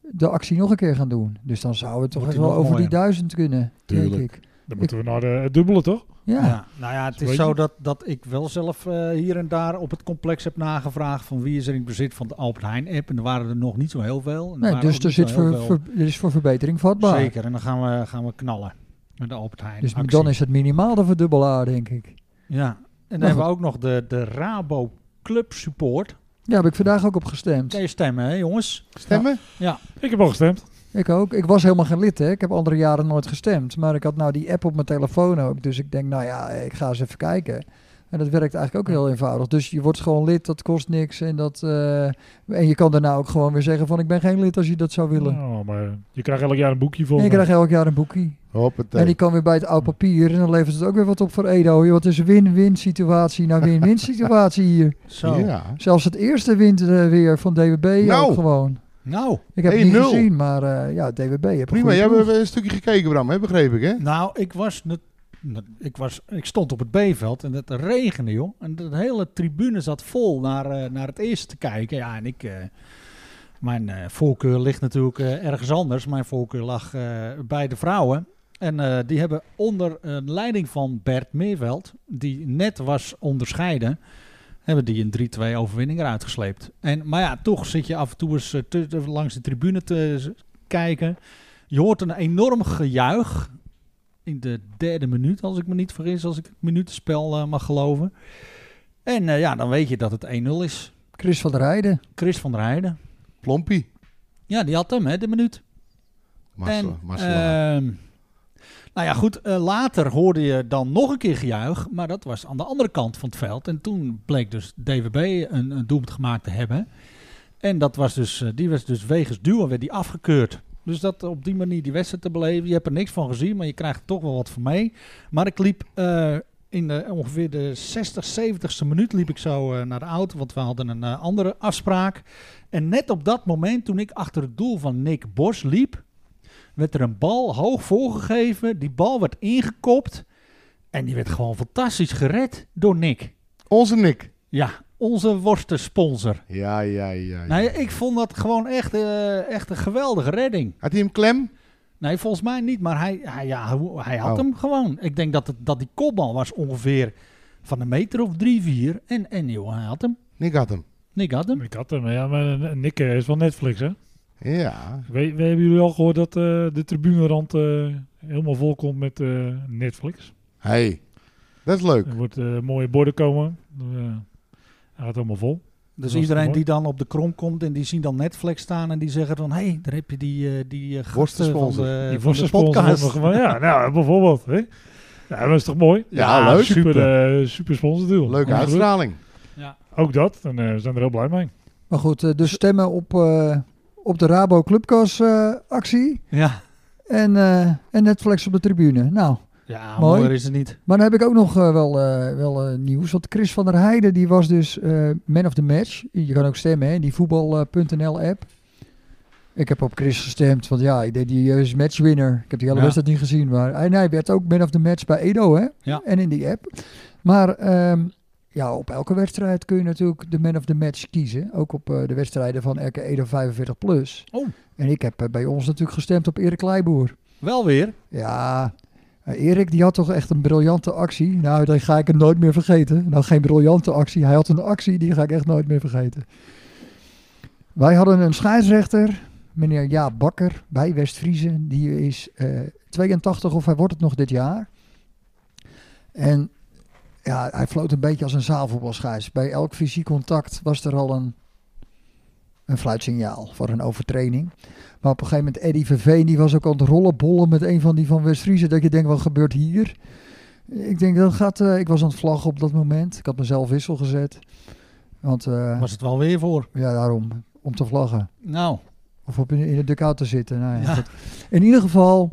Speaker 3: de actie nog een keer gaan doen. Dus dan zouden we toch
Speaker 1: Wordt
Speaker 3: echt
Speaker 1: die
Speaker 3: wel
Speaker 1: nog
Speaker 3: over die
Speaker 1: mooier.
Speaker 3: duizend kunnen, denk
Speaker 4: Tuurlijk.
Speaker 3: ik.
Speaker 2: Dan moeten we naar de, het dubbele, toch?
Speaker 1: Ja.
Speaker 3: Ja,
Speaker 1: Nou ja, het
Speaker 2: Weet
Speaker 1: is
Speaker 2: je?
Speaker 1: zo dat, dat ik wel zelf eh, hier en daar op het complex heb nagevraagd van wie is er in bezit van de Albert Heijn app. En er waren er nog niet zo heel veel. En er
Speaker 3: nee,
Speaker 1: waren
Speaker 3: dus
Speaker 1: ook
Speaker 3: er,
Speaker 1: niet zo
Speaker 3: zit
Speaker 1: heel
Speaker 3: voor,
Speaker 1: veel.
Speaker 3: voor- er is voor verbetering vatbaar.
Speaker 1: Zeker, en dan gaan we, gaan we knallen met de Albert Heijn
Speaker 3: Dus
Speaker 1: actie.
Speaker 3: dan is Nou, het minimaal de verdubbelaar, denk ik.
Speaker 1: Ja, en dan
Speaker 3: Maar
Speaker 1: hebben we ook nog de, de Rabo Club Support.
Speaker 3: Ja, heb ik vandaag ook op gestemd.
Speaker 1: Kan je stemmen hè jongens?
Speaker 4: Stemmen?
Speaker 2: Ik heb al gestemd.
Speaker 3: Ik ook. Ik was helemaal geen lid, hè. Ik heb andere jaren nooit gestemd. Maar ik had nou die app op mijn telefoon ook. Dus ik denk, nou ja, ik ga eens even kijken. En dat werkt eigenlijk ook heel eenvoudig. Dus je wordt gewoon lid, dat kost niks. En, dat, eh, en je kan daarna ook gewoon weer zeggen van... ik ben geen lid als je dat zou willen.
Speaker 2: Oh, maar je krijgt elk jaar een boekje voor.
Speaker 3: En je krijgt elk jaar een boekie.
Speaker 4: Hoppatee.
Speaker 3: En die kan weer bij het oud papier. En dan levert het ook weer wat op voor Edo. joh. Het is win-win situatie naar
Speaker 4: [laughs]
Speaker 3: win-win situatie hier.
Speaker 1: Zo.
Speaker 4: Ja.
Speaker 3: Zelfs het eerste wint eh, weer van DWB
Speaker 4: Nou.
Speaker 3: ook gewoon.
Speaker 1: Nou,
Speaker 3: Ik heb het
Speaker 4: 1-0.
Speaker 3: niet gezien, maar eh, ja, DWB. heb een
Speaker 4: Prima,
Speaker 3: goede
Speaker 4: jij
Speaker 3: ploeg.
Speaker 4: hebt een eh, stukje gekeken, Bram, hè? begreep ik, hè?
Speaker 1: nou ik, was net- net- ik was... ik stond op het B-veld en het regende, joh. En de hele tribune zat vol naar, eh, naar het eerste te kijken. Ja, en ik... eh, mijn eh, voorkeur ligt natuurlijk eh, ergens anders. Mijn voorkeur lag eh, bij de vrouwen. En eh, die hebben onder eh, leiding van Bert Meerveld, die net was onderscheiden, hebben die een 3-2 overwinning eruit gesleept. En, maar ja, toch zit je af en toe eens eh, tu- tu- langs de tribune te z- kijken. Je hoort een enorm gejuich in de derde minuut, als ik me niet vergis, als ik het minutenspel eh, mag geloven. En eh, ja, dan weet je dat het 1-0 is.
Speaker 3: Chris van der Heijden.
Speaker 1: Chris van der Heijden.
Speaker 4: Plompie.
Speaker 1: Ja, die had hem, hè, de minuut.
Speaker 4: Marcel,
Speaker 1: En,
Speaker 4: Marcel.
Speaker 1: ehm, nou ja, goed. eh, later hoorde je dan nog een keer gejuich. Maar dat was aan de andere kant van het veld. En toen bleek dus DWB een, een doelpunt gemaakt te hebben. En dat was dus, eh, die was dus wegens duwen werd die afgekeurd. Dus dat op die manier die wedstrijd te beleven. Je hebt er niks van gezien, maar je krijgt er toch wel wat van mee. Maar ik liep eh, in de, ongeveer de 60, 70ste minuut liep ik zo eh, naar de auto. Want we hadden een eh, andere afspraak. En net op dat moment, toen ik achter het doel van Nick Bos liep, werd er een bal hoog voorgegeven. Die bal werd ingekopt. En die werd gewoon fantastisch gered door Nick.
Speaker 4: Onze Nick.
Speaker 1: Ja, onze worstensponsor.
Speaker 4: Ja, ja, ja. ja.
Speaker 1: Nou ja, ik vond dat gewoon echt, eh, echt een geweldige redding.
Speaker 4: Had hij hem klem?
Speaker 1: Nee, volgens mij niet, maar hij, hij, ja, hoe- hij had
Speaker 4: Oh.
Speaker 1: hem gewoon. Ik denk dat, het, dat die kopbal was ongeveer van een meter of drie, vier. En, en joh, hij had hem.
Speaker 4: Nick had hem.
Speaker 1: Nick had hem.
Speaker 2: Ik had hem, ja, maar eh, Nick eh, is van Netflix, hè?
Speaker 4: Ja.
Speaker 2: We, we hebben jullie al gehoord dat eh, de tribunerand eh, helemaal vol komt met eh, Netflix.
Speaker 4: hey, dat is leuk.
Speaker 2: Er wordt eh, mooie borden komen. Eh, hij gaat allemaal vol.
Speaker 1: Dus
Speaker 2: was
Speaker 1: iedereen
Speaker 2: mooi.
Speaker 1: die dan op de krom komt en die zien dan Netflix staan en die zeggen dan... Hé, hey, daar heb je die, eh, die eh, gasten van
Speaker 4: Worstensponsor.
Speaker 1: de,
Speaker 2: Die
Speaker 1: van de
Speaker 2: worstensponsor
Speaker 1: podcast.
Speaker 2: wordt nog- Ja, nou, [laughs] bijvoorbeeld. Hè? Ja, dat is toch mooi?
Speaker 4: Ja, leuk.
Speaker 2: Super, eh, super sponsordeal.
Speaker 4: Leuke
Speaker 2: Absoluut.
Speaker 4: uitstraling.
Speaker 1: Ja.
Speaker 2: Ook dat. En eh, we zijn er heel blij mee.
Speaker 3: Maar goed, eh, dus stemmen op, eh, op de Rabo Clubcas eh, actie
Speaker 1: Ja.
Speaker 3: en, eh, en Netflix op de tribune. Nou,
Speaker 1: Ja,
Speaker 3: Mooi.
Speaker 1: mooier is het niet.
Speaker 3: maar dan heb ik ook nog eh, wel, eh, wel eh, nieuws. Want Chris van der Heijden die was dus eh, man of the match. Je kan ook stemmen hè, in die eh, voetbal.nl app. Ik heb op Chris gestemd, want ja, ik deed die eh, is matchwinner. Ik heb die hele
Speaker 1: Ja.
Speaker 3: wedstrijd niet gezien. Maar hij, nee, hij werd ook man of the match bij Edo hè?
Speaker 1: Ja.
Speaker 3: en in die app. Maar ehm, ja, op elke wedstrijd kun je natuurlijk de man of the match kiezen. Ook op eh, de wedstrijden van RK Edo 45+. Plus.
Speaker 1: Oh.
Speaker 3: En ik heb eh, bij ons natuurlijk gestemd op Erik Kleiboer.
Speaker 1: Wel weer.
Speaker 3: Ja, Eh, Erik die had toch echt een briljante actie. Nou, die ga ik hem nooit meer vergeten. Nou, geen briljante actie. Hij had een actie, die ga ik echt nooit meer vergeten. Wij hadden een scheidsrechter, meneer Jaap Bakker, bij West-Vriezen. Die is eh, 82 of hij wordt het nog dit jaar. En ja, hij floot een beetje als een zaalvoetbalscheids. Bij elk fysiek contact was er al een, een fluitsignaal voor een overtreding. Maar op een gegeven moment, Eddie Verveen, die was ook aan het rollenbollen met een van die van West-Friese. Dat je denkt, wat gebeurt hier? Ik denk, dat gaat... eh, ik was aan het vlaggen op dat moment. Ik had mezelf wissel gezet. Want eh,
Speaker 1: Was het wel weer voor?
Speaker 3: ja, daarom, om te vlaggen.
Speaker 1: Nou,
Speaker 3: Of op in, in de dugout te zitten. Nou, ja,
Speaker 1: Ja.
Speaker 3: goed. In ieder geval,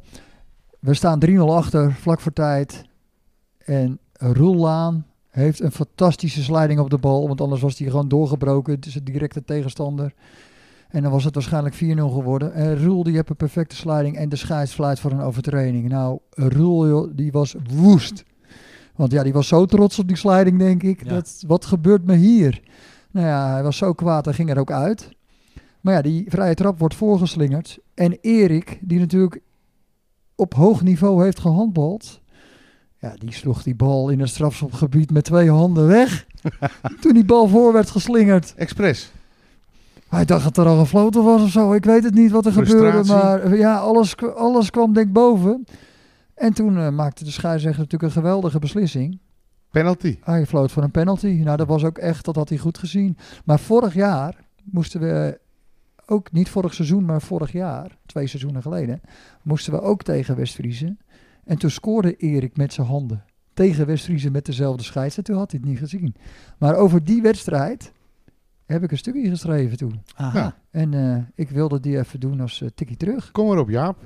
Speaker 3: we staan 3-0 achter, vlak voor tijd. En Roel Laan heeft een fantastische sliding op de bal. Want anders was hij gewoon doorgebroken. Het is een directe tegenstander. En dan was het waarschijnlijk 4-0 geworden. En Roel, die heeft een perfecte sliding. En de scheids fluit voor een overtreding. Nou, Roel, joh, die was woest. Want ja, die was zo trots op die sliding, denk ik.
Speaker 1: Ja.
Speaker 3: Dat, wat gebeurt me hier? Nou ja, hij was zo kwaad, hij ging er ook uit. Maar ja, die vrije trap wordt voorgeslingerd. En Erik, die natuurlijk op hoog niveau heeft gehandbald. Ja, die sloeg die bal in het strafschopgebied met twee handen weg. Toen die bal voor werd geslingerd.
Speaker 4: Express.
Speaker 3: Hij dacht dat er al een floten was of zo. Ik weet het niet wat er gebeurde.
Speaker 4: Frustratie.
Speaker 3: Maar eh, ja, alles, k- alles kwam denk ik boven. En toen eh, maakte de scheidsrechter natuurlijk een geweldige beslissing.
Speaker 4: Penalty.
Speaker 3: Hij floot voor een penalty. Nou, dat was ook echt, dat had hij goed gezien. Maar vorig jaar moesten we, ook niet vorig seizoen, maar vorig jaar, twee seizoenen geleden, moesten we ook tegen West-Vriezen. En toen scoorde Erik met zijn handen tegen West-Vriezen met dezelfde scheids. En toen had hij het niet gezien. Maar over die wedstrijd heb ik een stukje geschreven toen.
Speaker 1: aha.
Speaker 4: Ja.
Speaker 3: En eh, ik wilde die even doen als eh, tikkie terug.
Speaker 4: Kom maar op, Jaap.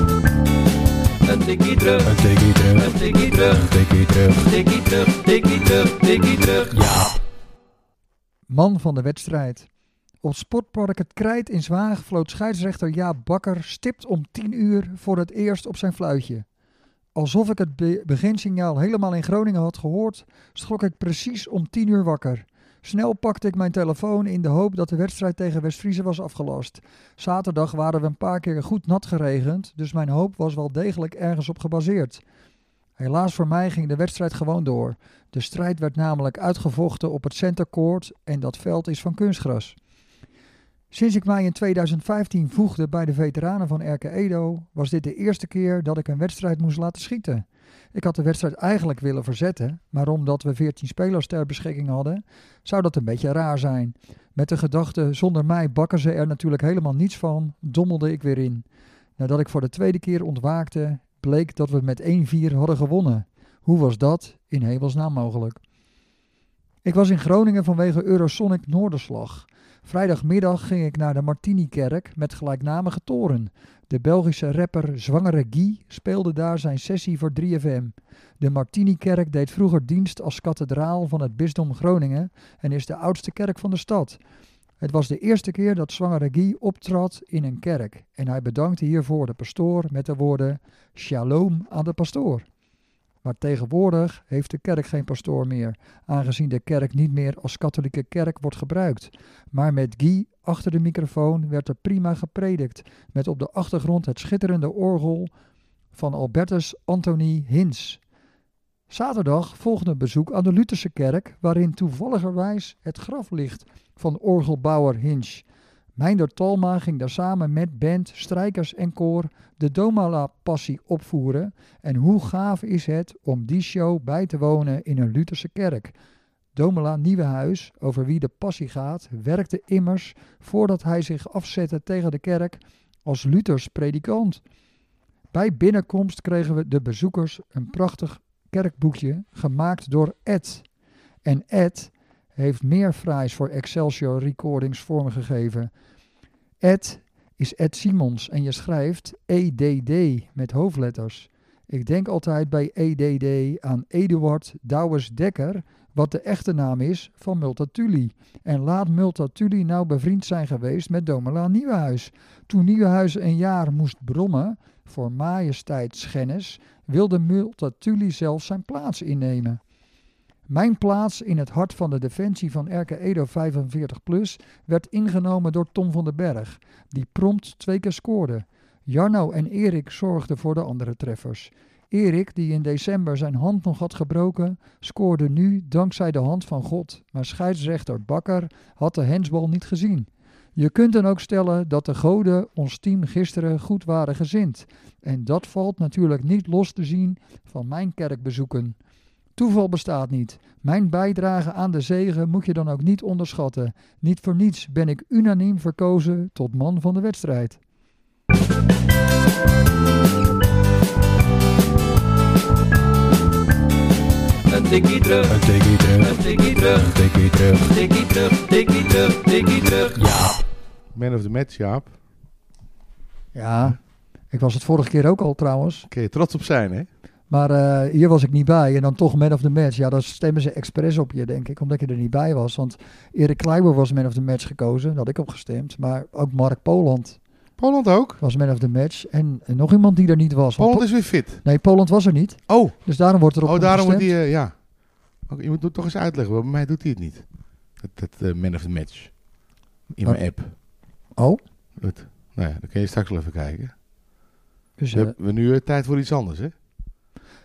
Speaker 5: Een tikkie terug,
Speaker 6: Een tikkie terug,
Speaker 5: een tikkie terug,
Speaker 6: een tikkie terug.
Speaker 5: tikkie terug, tikkie terug, tikkie terug.
Speaker 6: Ja.
Speaker 3: man van de wedstrijd. Op Sportpark Het Krijt in Zwaag floot scheidsrechter Jaap Bakker stipt om 10 uur voor het eerst op zijn fluitje. Alsof ik het be- beginsignaal helemaal in Groningen had gehoord, schrok ik precies om 10 uur wakker. Snel pakte ik mijn telefoon in de hoop dat de wedstrijd tegen West-Friese was afgelast. Zaterdag waren we een paar keer goed nat geregend, dus mijn hoop was wel degelijk ergens op gebaseerd. Helaas voor mij ging de wedstrijd gewoon door. De strijd werd namelijk uitgevochten op het centercourt en dat veld is van kunstgras. Sinds ik mij in 2015 voegde bij de veteranen van RK Edo, was dit de eerste keer dat ik een wedstrijd moest laten schieten. Ik had de wedstrijd eigenlijk willen verzetten, maar omdat we 14 spelers ter beschikking hadden, zou dat een beetje raar zijn. Met de gedachte, zonder mij bakken ze er natuurlijk helemaal niets van, dommelde ik weer in. Nadat ik voor de tweede keer ontwaakte, bleek dat we met 1-4 hadden gewonnen. Hoe was dat in hemelsnaam mogelijk? Ik was in Groningen vanwege Eurosonic Noorderslag. Vrijdagmiddag ging ik naar de Martini-kerk met gelijknamige toren. De Belgische rapper Zwangere Guy speelde daar zijn sessie voor 3FM. De Martini-kerk deed vroeger dienst als kathedraal van het bisdom Groningen en is de oudste kerk van de stad. Het was de eerste keer dat Zwangere Guy optrad in een kerk en hij bedankte hiervoor de pastoor met de woorden Shalom aan de pastoor. Maar tegenwoordig heeft de kerk geen pastoor meer, aangezien de kerk niet meer als katholieke kerk wordt gebruikt. Maar met Guy achter de microfoon werd er prima gepredikt, met op de achtergrond het schitterende orgel van Albertus Anthony Hins. Zaterdag volgde een bezoek aan de Lutherse kerk, waarin toevalligerwijs het graf ligt van orgelbouwer Hinch. Meinder Talma ging daar samen met band, strijkers en koor de Domala-passie opvoeren en hoe gaaf is het om die show bij te wonen in een Lutherse kerk? Domela Nieuwenhuis, over wie de passie gaat, werkte immers voordat hij zich afzette tegen de kerk als Luthers predikant. Bij binnenkomst kregen we de bezoekers een prachtig kerkboekje gemaakt door Ed. En Ed heeft meer fraais voor Excelsior Recordings vormgegeven. Ed is Ed Simons en je schrijft EDD met hoofdletters. Ik denk altijd bij EDD aan Eduard Douwes Dekker, wat de echte naam is van Multatuli. En laat Multatuli nou bevriend zijn geweest met Domela Nieuwenhuis. Toen Nieuwenhuis een jaar moest brommen voor majesteitsschennis, wilde Multatuli zelf zijn plaats innemen. Mijn plaats in het hart van de defensie van RK Edo 45 plus werd ingenomen door Tom van den Berg, die prompt twee keer scoorde. Jarno en Erik zorgden voor de andere treffers. Erik, die in december zijn hand nog had gebroken, scoorde nu dankzij de hand van God, maar scheidsrechter Bakker had de hensbal niet gezien. Je kunt dan ook stellen dat de goden ons team gisteren goed waren gezind. En dat valt natuurlijk niet los te zien van mijn kerkbezoeken. Toeval bestaat niet. Mijn bijdrage aan de zegen moet je dan ook niet onderschatten. Niet voor niets ben ik unaniem verkozen tot man van de wedstrijd.
Speaker 5: Een tikkie terug,
Speaker 6: Een tikkie terug,
Speaker 5: een tikkie terug,
Speaker 6: een tikkie terug.
Speaker 5: tikkie terug, tikkie terug, tikkie terug.
Speaker 4: Man of the match, Jaap.
Speaker 3: Ja, ik was het vorige keer ook al trouwens.
Speaker 4: Kun je trots op zijn, hè?
Speaker 3: Maar eh, hier was ik niet bij. En dan toch man of the match. Ja, dan stemmen ze expres op je, denk ik. Omdat je er niet bij was. Want Erik Kleiber was man of the match gekozen. Daar had ik op gestemd. Maar ook Mark Poland
Speaker 4: Poland ook.
Speaker 3: was man of the match. En, en nog iemand die er niet was. Want
Speaker 4: Poland is weer fit.
Speaker 3: Po- nee, Poland was er niet.
Speaker 4: Oh,
Speaker 3: Dus daarom wordt er op
Speaker 4: oh
Speaker 3: hem
Speaker 4: daarom wordt
Speaker 3: gestemd.
Speaker 4: hij... eh, ja. Oké, je moet het toch eens uitleggen. want Bij mij doet hij het niet. Het, het eh, man of the match. In mijn
Speaker 3: Oh.
Speaker 4: app.
Speaker 3: Oh,
Speaker 4: Goed. Nou ja, dan kun je straks wel even kijken.
Speaker 3: dus,
Speaker 4: We
Speaker 3: eh,
Speaker 4: hebben nu eh, tijd voor iets anders, hè?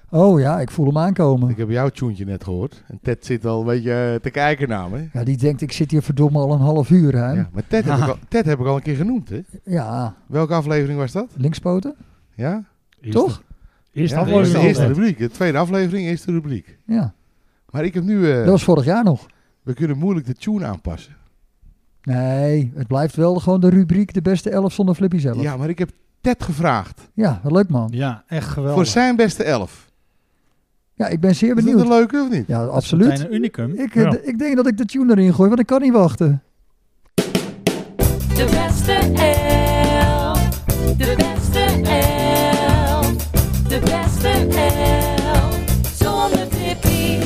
Speaker 3: oh ja, ik voel hem aankomen.
Speaker 4: Ik heb jouw tjoentje net gehoord. En Ted zit al een beetje eh, te kijken naar me.
Speaker 3: Ja, die denkt, ik zit hier verdomme al een half uur. Hè?
Speaker 4: Ja,
Speaker 3: Ja.
Speaker 4: maar Ted, heb ik al, Ted heb ik al een keer genoemd, hè? Welke aflevering was dat?
Speaker 3: linkspoten,
Speaker 4: Ja?
Speaker 2: Eerste-
Speaker 3: toch?
Speaker 2: Eerste
Speaker 4: ja, de
Speaker 2: aflevering.
Speaker 4: eerste, eerste
Speaker 2: altijd.
Speaker 4: rubriek. De tweede aflevering, eerste rubriek.
Speaker 3: Ja,
Speaker 4: Maar ik heb nu... eh,
Speaker 3: dat was vorig jaar nog.
Speaker 4: We kunnen moeilijk de tune aanpassen.
Speaker 3: Nee, het blijft wel gewoon de rubriek de beste elf zonder Flippy zelf. Ja,
Speaker 4: Ja, maar ik heb Ted gevraagd
Speaker 3: wat leuk man.
Speaker 1: Ja, echt
Speaker 4: voor
Speaker 1: geweldig.
Speaker 4: zijn beste elf.
Speaker 3: Ja, ik ben zeer
Speaker 4: Is dat
Speaker 3: benieuwd.
Speaker 4: een leuke of niet?
Speaker 3: Ja,
Speaker 1: Dat is
Speaker 3: absoluut.
Speaker 1: meteen een unicum.
Speaker 3: Ik, eh,
Speaker 2: Ja.
Speaker 3: d- ik denk dat ik de tune erin gooi, want ik kan niet wachten.
Speaker 7: De beste elf. De beste elf. De beste elf. Zonder Tippy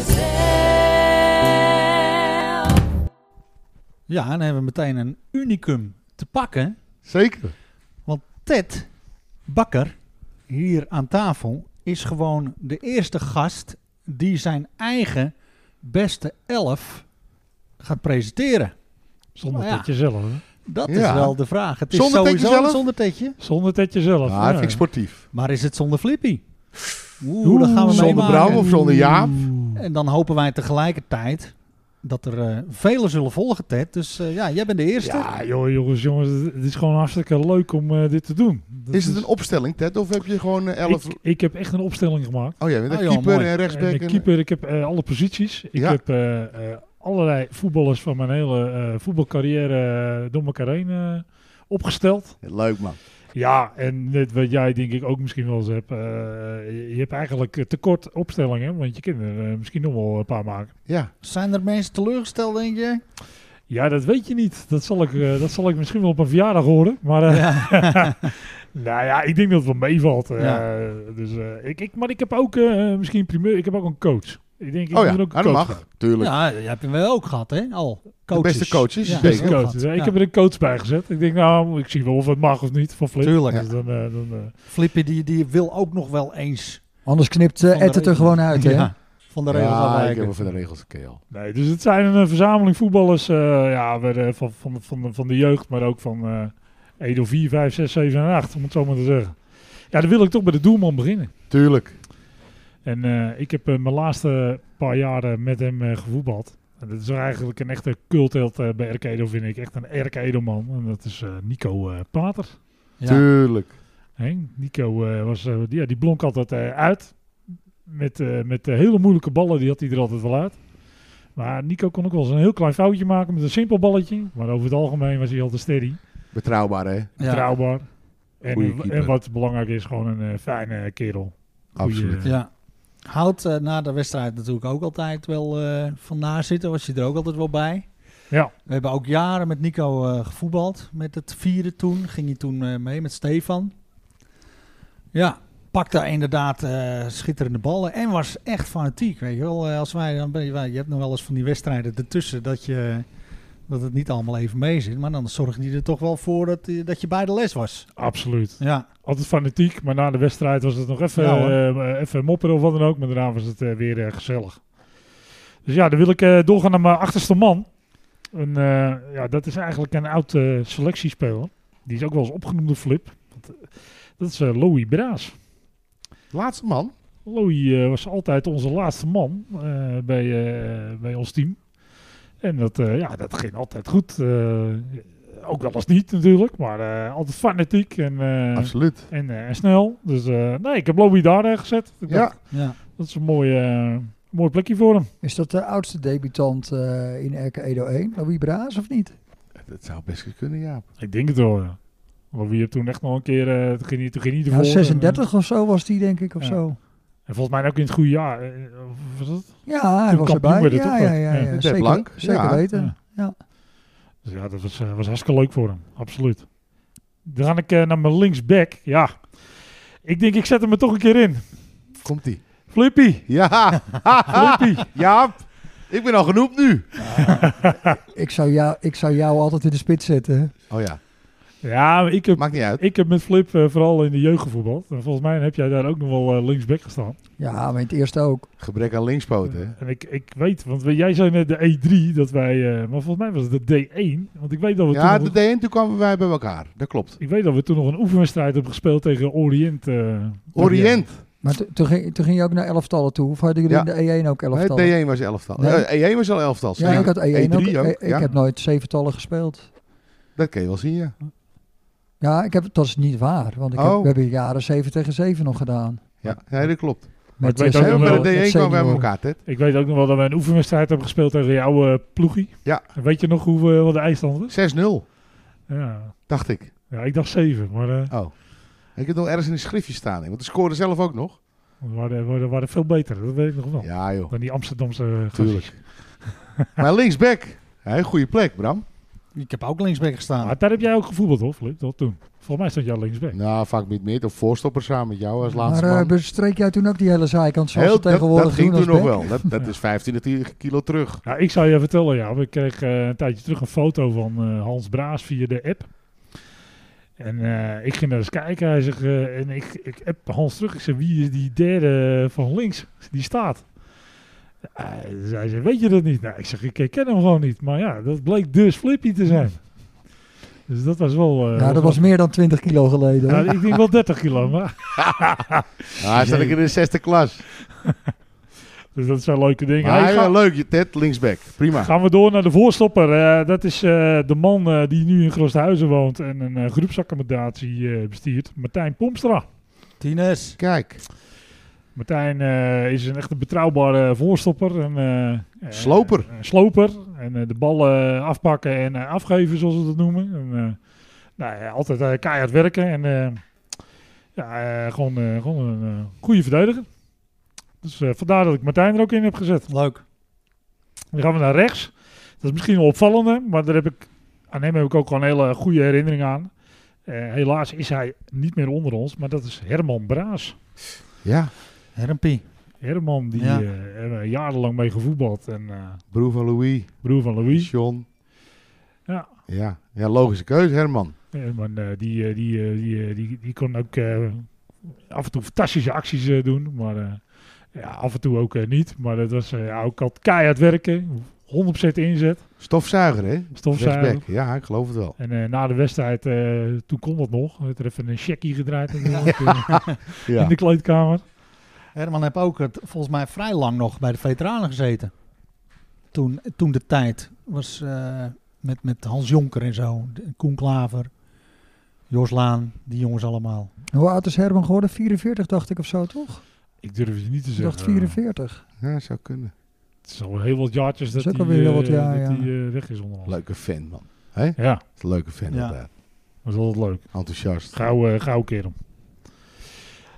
Speaker 7: zelf.
Speaker 1: Ja, dan hebben we meteen een unicum te pakken.
Speaker 4: Zeker.
Speaker 1: Ted Bakker, hier aan tafel, is gewoon de eerste gast die zijn eigen beste elf gaat presenteren.
Speaker 2: Zonder
Speaker 1: Nou Ja.
Speaker 2: dat jezelf. hè?
Speaker 1: Dat
Speaker 4: Ja.
Speaker 1: is wel de vraag. Het is
Speaker 4: Zonder Tedje
Speaker 1: sowieso
Speaker 4: zelf?
Speaker 1: zonder tetje.
Speaker 2: Zonder dat jezelf.
Speaker 4: Ah, dat vind ik sportief.
Speaker 1: Maar is het zonder Flippy? Oeh, dat gaan we
Speaker 4: Zonder
Speaker 1: meemaken.
Speaker 4: Bram of zonder Jaap.
Speaker 1: En dan hopen wij tegelijkertijd dat er eh, velen zullen volgen, Ted. Dus eh, ja, jij bent de eerste.
Speaker 2: Ja, joh, jongens, jongens, het- het is gewoon hartstikke leuk om eh, dit te doen. Dat
Speaker 4: Is het een opstelling, Ted? Of heb je gewoon eh, elf...
Speaker 2: ik, ik heb echt een opstelling gemaakt.
Speaker 4: Oh, jij bent een
Speaker 1: Oh, joh,
Speaker 4: keeper
Speaker 1: mooi.
Speaker 4: en
Speaker 2: Ik ben
Speaker 4: rechtsback. en-
Speaker 2: keeper, ik heb eh, alle posities. Ik
Speaker 4: Ja.
Speaker 2: heb eh, eh, allerlei voetballers van mijn hele eh, voetbalcarrière eh, door elkaar heen eh, opgesteld.
Speaker 4: Leuk, man.
Speaker 2: Ja, en net wat jij denk ik ook misschien wel eens hebt. eh, je- je hebt eigenlijk eh, tekort opstellingen, want je kunt er eh, misschien nog wel een paar maken.
Speaker 4: Ja.
Speaker 1: Zijn er mensen teleurgesteld, denk je?
Speaker 2: Ja, dat weet je niet. Dat zal ik, eh, dat zal ik misschien wel op een verjaardag horen. Maar eh, [laughs] nou ja, ik denk dat het wel meevalt. eh,
Speaker 1: Ja.
Speaker 2: dus, eh, ik, ik, maar ik heb ook eh, misschien primeur. Ik heb ook een coach. Ik denk, ik
Speaker 4: Oh ja,
Speaker 2: moet ook een
Speaker 4: ah, dat
Speaker 2: coach
Speaker 4: mag.
Speaker 2: hebben.
Speaker 4: Tuurlijk.
Speaker 1: Ja, dat heb je wel ook gehad, hè? Al.
Speaker 4: De
Speaker 1: Coaches.
Speaker 4: beste coaches,
Speaker 1: Ja.
Speaker 2: Beste
Speaker 4: zeker.
Speaker 1: heel
Speaker 2: coach.
Speaker 1: gat,
Speaker 2: Dus, eh,
Speaker 1: ja.
Speaker 2: Ik heb er een coach bij gezet. Ik denk, nou, ik zie wel of het mag of niet van Flip.
Speaker 1: Tuurlijk.
Speaker 2: Dus dan, eh, dan, eh,
Speaker 1: Flippy die, die wil ook nog wel eens
Speaker 3: Anders knipt eh,
Speaker 1: Van de
Speaker 3: Ed het er
Speaker 1: regels.
Speaker 3: gewoon uit, hè?
Speaker 1: ja, van de regels
Speaker 4: Ja, ik
Speaker 1: afwijken.
Speaker 4: heb wel van de regels gekeel.
Speaker 2: nee, dus het zijn een eh, verzameling voetballers eh, ja, weer, eh, van, van, van, van de jeugd, maar ook van eh Edo 4, 5, 6, 7 en 8, om het zo maar te zeggen. Ja, dan wil ik toch bij de doelman beginnen.
Speaker 4: Tuurlijk.
Speaker 2: En eh, ik heb eh, mijn laatste paar jaren met hem eh, gevoetbald. En dat is eigenlijk een echte cultheld eh, bij Erkedo, vind ik. Echt een Erkedo-man. En dat is eh, Nico eh, Pater.
Speaker 1: Ja.
Speaker 4: Tuurlijk.
Speaker 2: Hè, Nico eh, was, eh, die, ja, die blonk altijd eh, uit. Met, eh, met eh, hele moeilijke ballen, die had hij er altijd wel uit. Maar Nico kon ook wel eens een heel klein foutje maken met een simpel balletje. Maar over het algemeen was hij altijd steady,
Speaker 4: Betrouwbaar, hè?
Speaker 1: Ja.
Speaker 2: betrouwbaar.
Speaker 4: Goeie
Speaker 2: En,
Speaker 4: keeper.
Speaker 2: en wat belangrijk is, gewoon een eh, fijne kerel. Goeie,
Speaker 4: Absoluut.
Speaker 2: eh,
Speaker 1: ja. Houdt eh, na de wedstrijd natuurlijk ook altijd wel eh, van nazitten. Was je er ook altijd wel bij.
Speaker 2: Ja.
Speaker 1: We hebben ook jaren met Nico eh, gevoetbald. Met het vierde toen. Ging hij toen eh, mee met Stefan. Ja. Pakte inderdaad eh, schitterende ballen. En was echt fanatiek. Weet je wel. Eh, als wij, dan ben je, je hebt nog wel eens van die wedstrijden ertussen. Dat, je, dat het niet allemaal even mee zit. Maar dan zorgde hij er toch wel voor dat, eh, dat je bij de les was.
Speaker 2: Absoluut.
Speaker 1: Ja.
Speaker 2: Altijd fanatiek, maar na de wedstrijd was het nog even,
Speaker 1: Ja, hoor.
Speaker 2: eh, even mopperen of wat dan ook. Maar daarna was het eh, weer eh, gezellig. Dus ja, dan wil ik eh, doorgaan naar mijn achterste man. En, eh, ja, dat is eigenlijk een oud eh, selectiespeler. Die is ook wel eens opgenoemd door Flip. Want, eh, dat is eh Louis Braas.
Speaker 4: Laatste man.
Speaker 2: Louis eh, was altijd onze laatste man eh, bij, eh, bij ons team. En dat, eh, ja, dat ging altijd goed. Eh, ook wel eens niet natuurlijk, maar eh, altijd fanatiek en, eh,
Speaker 4: Absoluut.
Speaker 2: en, eh, en snel. Dus eh, nee, ik heb Louis daar eh, gezet. Ik dacht,
Speaker 4: Ja.
Speaker 1: Ja.
Speaker 2: Dat is een mooie, eh, mooi plekje voor hem.
Speaker 3: Is dat de oudste debutant eh, in Erke Edo 1? Louis Braas of niet?
Speaker 4: Dat zou best eens kunnen, Jaap.
Speaker 2: Ik denk het wel, ja. Want wie heeft toen echt nog een keer... eh toen ging hij, toen ging hij
Speaker 3: Ja,
Speaker 2: ervoor.
Speaker 3: 36 of zo was die denk ik of
Speaker 2: Ja.
Speaker 3: zo.
Speaker 2: En, en volgens mij ook in het goede jaar. eh, of was dat?
Speaker 3: Ja, hij
Speaker 2: Toen
Speaker 3: was
Speaker 2: kampioen
Speaker 3: erbij.
Speaker 2: werd het
Speaker 3: Ja,
Speaker 2: toch,
Speaker 3: ja,
Speaker 2: hè?
Speaker 3: ja,
Speaker 2: Ja.
Speaker 3: ja,
Speaker 4: Met
Speaker 3: Zeker,
Speaker 4: Blank.
Speaker 3: zeker
Speaker 4: Ja.
Speaker 3: weten.
Speaker 2: Ja.
Speaker 3: Ja.
Speaker 2: Dus ja, dat was, eh, was hartstikke leuk voor hem. Absoluut. Dan ga ik eh, naar mijn linksback. Ja. Ik denk, ik zet hem er toch een keer in.
Speaker 4: Komt ie.
Speaker 2: Flippy.
Speaker 4: Ja,
Speaker 2: Flippy.
Speaker 4: [laughs] Jaap. Ik ben al genoemd nu.
Speaker 3: Ik, zou jou, ik zou jou altijd in de spits zetten.
Speaker 4: Oh ja,
Speaker 2: ja, maar ik heb,
Speaker 4: maakt niet uit.
Speaker 2: ik heb met Flip eh, vooral in de jeugd gevoetbald. En volgens mij heb jij daar ook nog wel eh, linksback gestaan.
Speaker 3: Ja, maar in het eerste ook.
Speaker 4: Gebrek aan linkspoten. hè?
Speaker 2: En ik, ik weet, want jij zei net de E3 dat wij... eh, maar volgens mij was het de D1. Want ik weet dat we
Speaker 4: Ja,
Speaker 2: toen...
Speaker 4: de
Speaker 2: nog-
Speaker 4: D1, toen kwamen wij bij elkaar. Dat klopt.
Speaker 2: Ik weet dat we toen nog een oefenwedstrijd hebben gespeeld tegen Orient. eh,
Speaker 4: Orient.
Speaker 3: Maar to- toen ging, toen ging je ook naar elftallen toe. Of hadden jullie
Speaker 4: Ja.
Speaker 3: in de E1 ook elftallen?
Speaker 4: Nee, D1 was elftal.
Speaker 3: Nee.
Speaker 4: Eh, E1 was al elftal.
Speaker 3: ja, ik had E1 ook.
Speaker 4: E3 ook,
Speaker 3: E- ik
Speaker 4: ja.
Speaker 3: heb nooit zeventallen gespeeld.
Speaker 4: Dat kan je wel zien, ja.
Speaker 3: Ja, ik heb, dat is niet waar. Want ik heb-
Speaker 4: Oh.
Speaker 3: we hebben jaren 7 tegen 7 nog gedaan.
Speaker 4: Ja, nee, dat klopt.
Speaker 2: Maar ik weet
Speaker 3: eh,
Speaker 2: ook
Speaker 4: Zijn we
Speaker 2: nog
Speaker 3: senioren-
Speaker 4: bij
Speaker 2: wel-
Speaker 4: de
Speaker 3: met
Speaker 4: D1 kwamen wij bij
Speaker 3: senioren.
Speaker 4: elkaar, Ted.
Speaker 2: Ik weet ook nog wel dat we een oefenwedstrijd hebben gespeeld tegen jouw eh, ploegie.
Speaker 4: Ja.
Speaker 2: En Weet je nog hoe we wat de eindstand is?
Speaker 4: 6-0,
Speaker 2: Ja.
Speaker 4: dacht ik.
Speaker 2: ja, ik dacht zeven, maar eh,
Speaker 4: Oh. Ik heb het nog ergens in een schriftje staan. hè, Want de scoorde zelf ook nog.
Speaker 2: we, waren, we waren- we waren veel beter, dat weet ik nog wel. [laughs]
Speaker 4: Ja, joh.
Speaker 2: Dan die Amsterdamse eh,
Speaker 4: Tuurlijk.
Speaker 2: gasten.
Speaker 4: Maar linksback. Hé, goede plek, Bram.
Speaker 1: Ik heb ook linksback gestaan.
Speaker 2: Maar daar heb jij ook gevoetbald, hoor, Flip, dat toen. Volgens mij stond jij linksback.
Speaker 4: Nou, vaak niet meer. Of voorstopper samen met jou als laatste
Speaker 3: Maar eh,
Speaker 4: man.
Speaker 3: bestreek jij toen ook die hele zijkant zoals ze
Speaker 4: dat,
Speaker 3: tegenwoordig
Speaker 4: dat ging
Speaker 3: doen
Speaker 4: toen nog
Speaker 3: als back?
Speaker 4: wel. Dat, dat is 15 20 kilo terug.
Speaker 2: Ja, ik zou je vertellen, ja, we kregen eh, een tijdje terug een foto van eh, Hans Braas via de app. En eh, ik ging naar eens kijken, hij zegt, eh, en ik, ik app Hans terug, ik zeg, wie is die derde eh, van links? Die staat. Hij dus hij zegt, weet je dat niet? Nou, ik zeg, ik ken hem gewoon niet. Maar ja, dat bleek dus Flippy te zijn. Dus dat was wel... eh,
Speaker 3: Ja, dat was meer dan 20 kilo geleden.
Speaker 2: Ja, ik denk wel 30 kilo, maar... [laughs]
Speaker 4: Ah, hij staat ik in de zesde klas.
Speaker 2: Dus dat zijn leuke dingen.
Speaker 4: Maar
Speaker 2: Hey,
Speaker 4: hij,
Speaker 2: ga-
Speaker 4: eh, leuk, je Ted, linksback. Prima.
Speaker 2: Gaan we door naar de voorstopper. Eh, dat is eh, de man eh, die nu in Groothuizen woont en een eh, groepsaccommodatie eh, bestiert. Martijn Pomstra.
Speaker 1: Tines.
Speaker 4: Kijk,
Speaker 2: Martijn eh, is een echt een betrouwbare voorstopper. En, eh, eh,
Speaker 4: Sloper.
Speaker 2: een sloper. En eh, de ballen afpakken en eh, afgeven, zoals we dat noemen. En, eh, nou, ja, altijd eh, keihard werken. En eh, ja, eh, gewoon, eh, gewoon een eh, goede verdediger. Dus eh, vandaar dat ik Martijn er ook in heb gezet.
Speaker 1: Leuk.
Speaker 2: Dan gaan we naar rechts. Dat is misschien wel opvallende, maar daar heb ik, aan hem heb ik ook wel een hele goede herinnering aan. Eh, helaas is hij niet meer onder ons, maar dat is Herman Braas.
Speaker 4: ja,
Speaker 1: Hermpie.
Speaker 2: Herman, die
Speaker 1: Ja.
Speaker 2: eh, hebben we jarenlang mee gevoetbald. En eh,
Speaker 4: broer van Louis,
Speaker 2: broer van Louis.
Speaker 4: John.
Speaker 2: Ja.
Speaker 4: ja. Ja, logische keuze, Herman.
Speaker 2: Herman, eh, die, eh, die, eh, die, eh, die, die kon ook eh, af en toe fantastische acties eh, doen, maar eh, ja, af en toe ook eh, niet. Maar dat was eh, ja, ook altijd keihard werken, 100% inzet,
Speaker 4: Stofzuiger, hè?
Speaker 2: stofzuiger.
Speaker 4: Rechtsback. Ja, ik geloof het wel.
Speaker 2: En eh, na de wedstrijd, eh, toen kon dat nog. Werd er even een checkie
Speaker 3: [laughs]
Speaker 2: gedraaid natuurlijk, eh,
Speaker 4: Ja.
Speaker 2: in de kleedkamer.
Speaker 1: Herman heb ook het, volgens mij vrij lang nog bij de veteranen gezeten. Toen, toen de tijd was eh, met, met Hans Jonker en zo. de- Koen Klaver. Jos Laan. Die jongens allemaal.
Speaker 3: Hoe oud is Herman geworden? 44 dacht ik of zo, toch?
Speaker 2: Ik durf het niet te
Speaker 3: Ik dacht
Speaker 2: zeggen.
Speaker 3: 44.
Speaker 4: ja, zou kunnen.
Speaker 2: Het is al heel wat jaartjes dat
Speaker 3: Dat is
Speaker 2: hij
Speaker 3: ook alweer
Speaker 2: eh,
Speaker 3: heel wat jaar,
Speaker 2: dat
Speaker 3: ja.
Speaker 2: hij, eh, weg is onder ons.
Speaker 4: Leuke fan, man.
Speaker 2: Ja,
Speaker 4: Is een Leuke fan,
Speaker 1: Ja.
Speaker 4: inderdaad.
Speaker 2: dat is altijd leuk.
Speaker 4: Enthousiast.
Speaker 2: Gauw, eh, gauw kerel.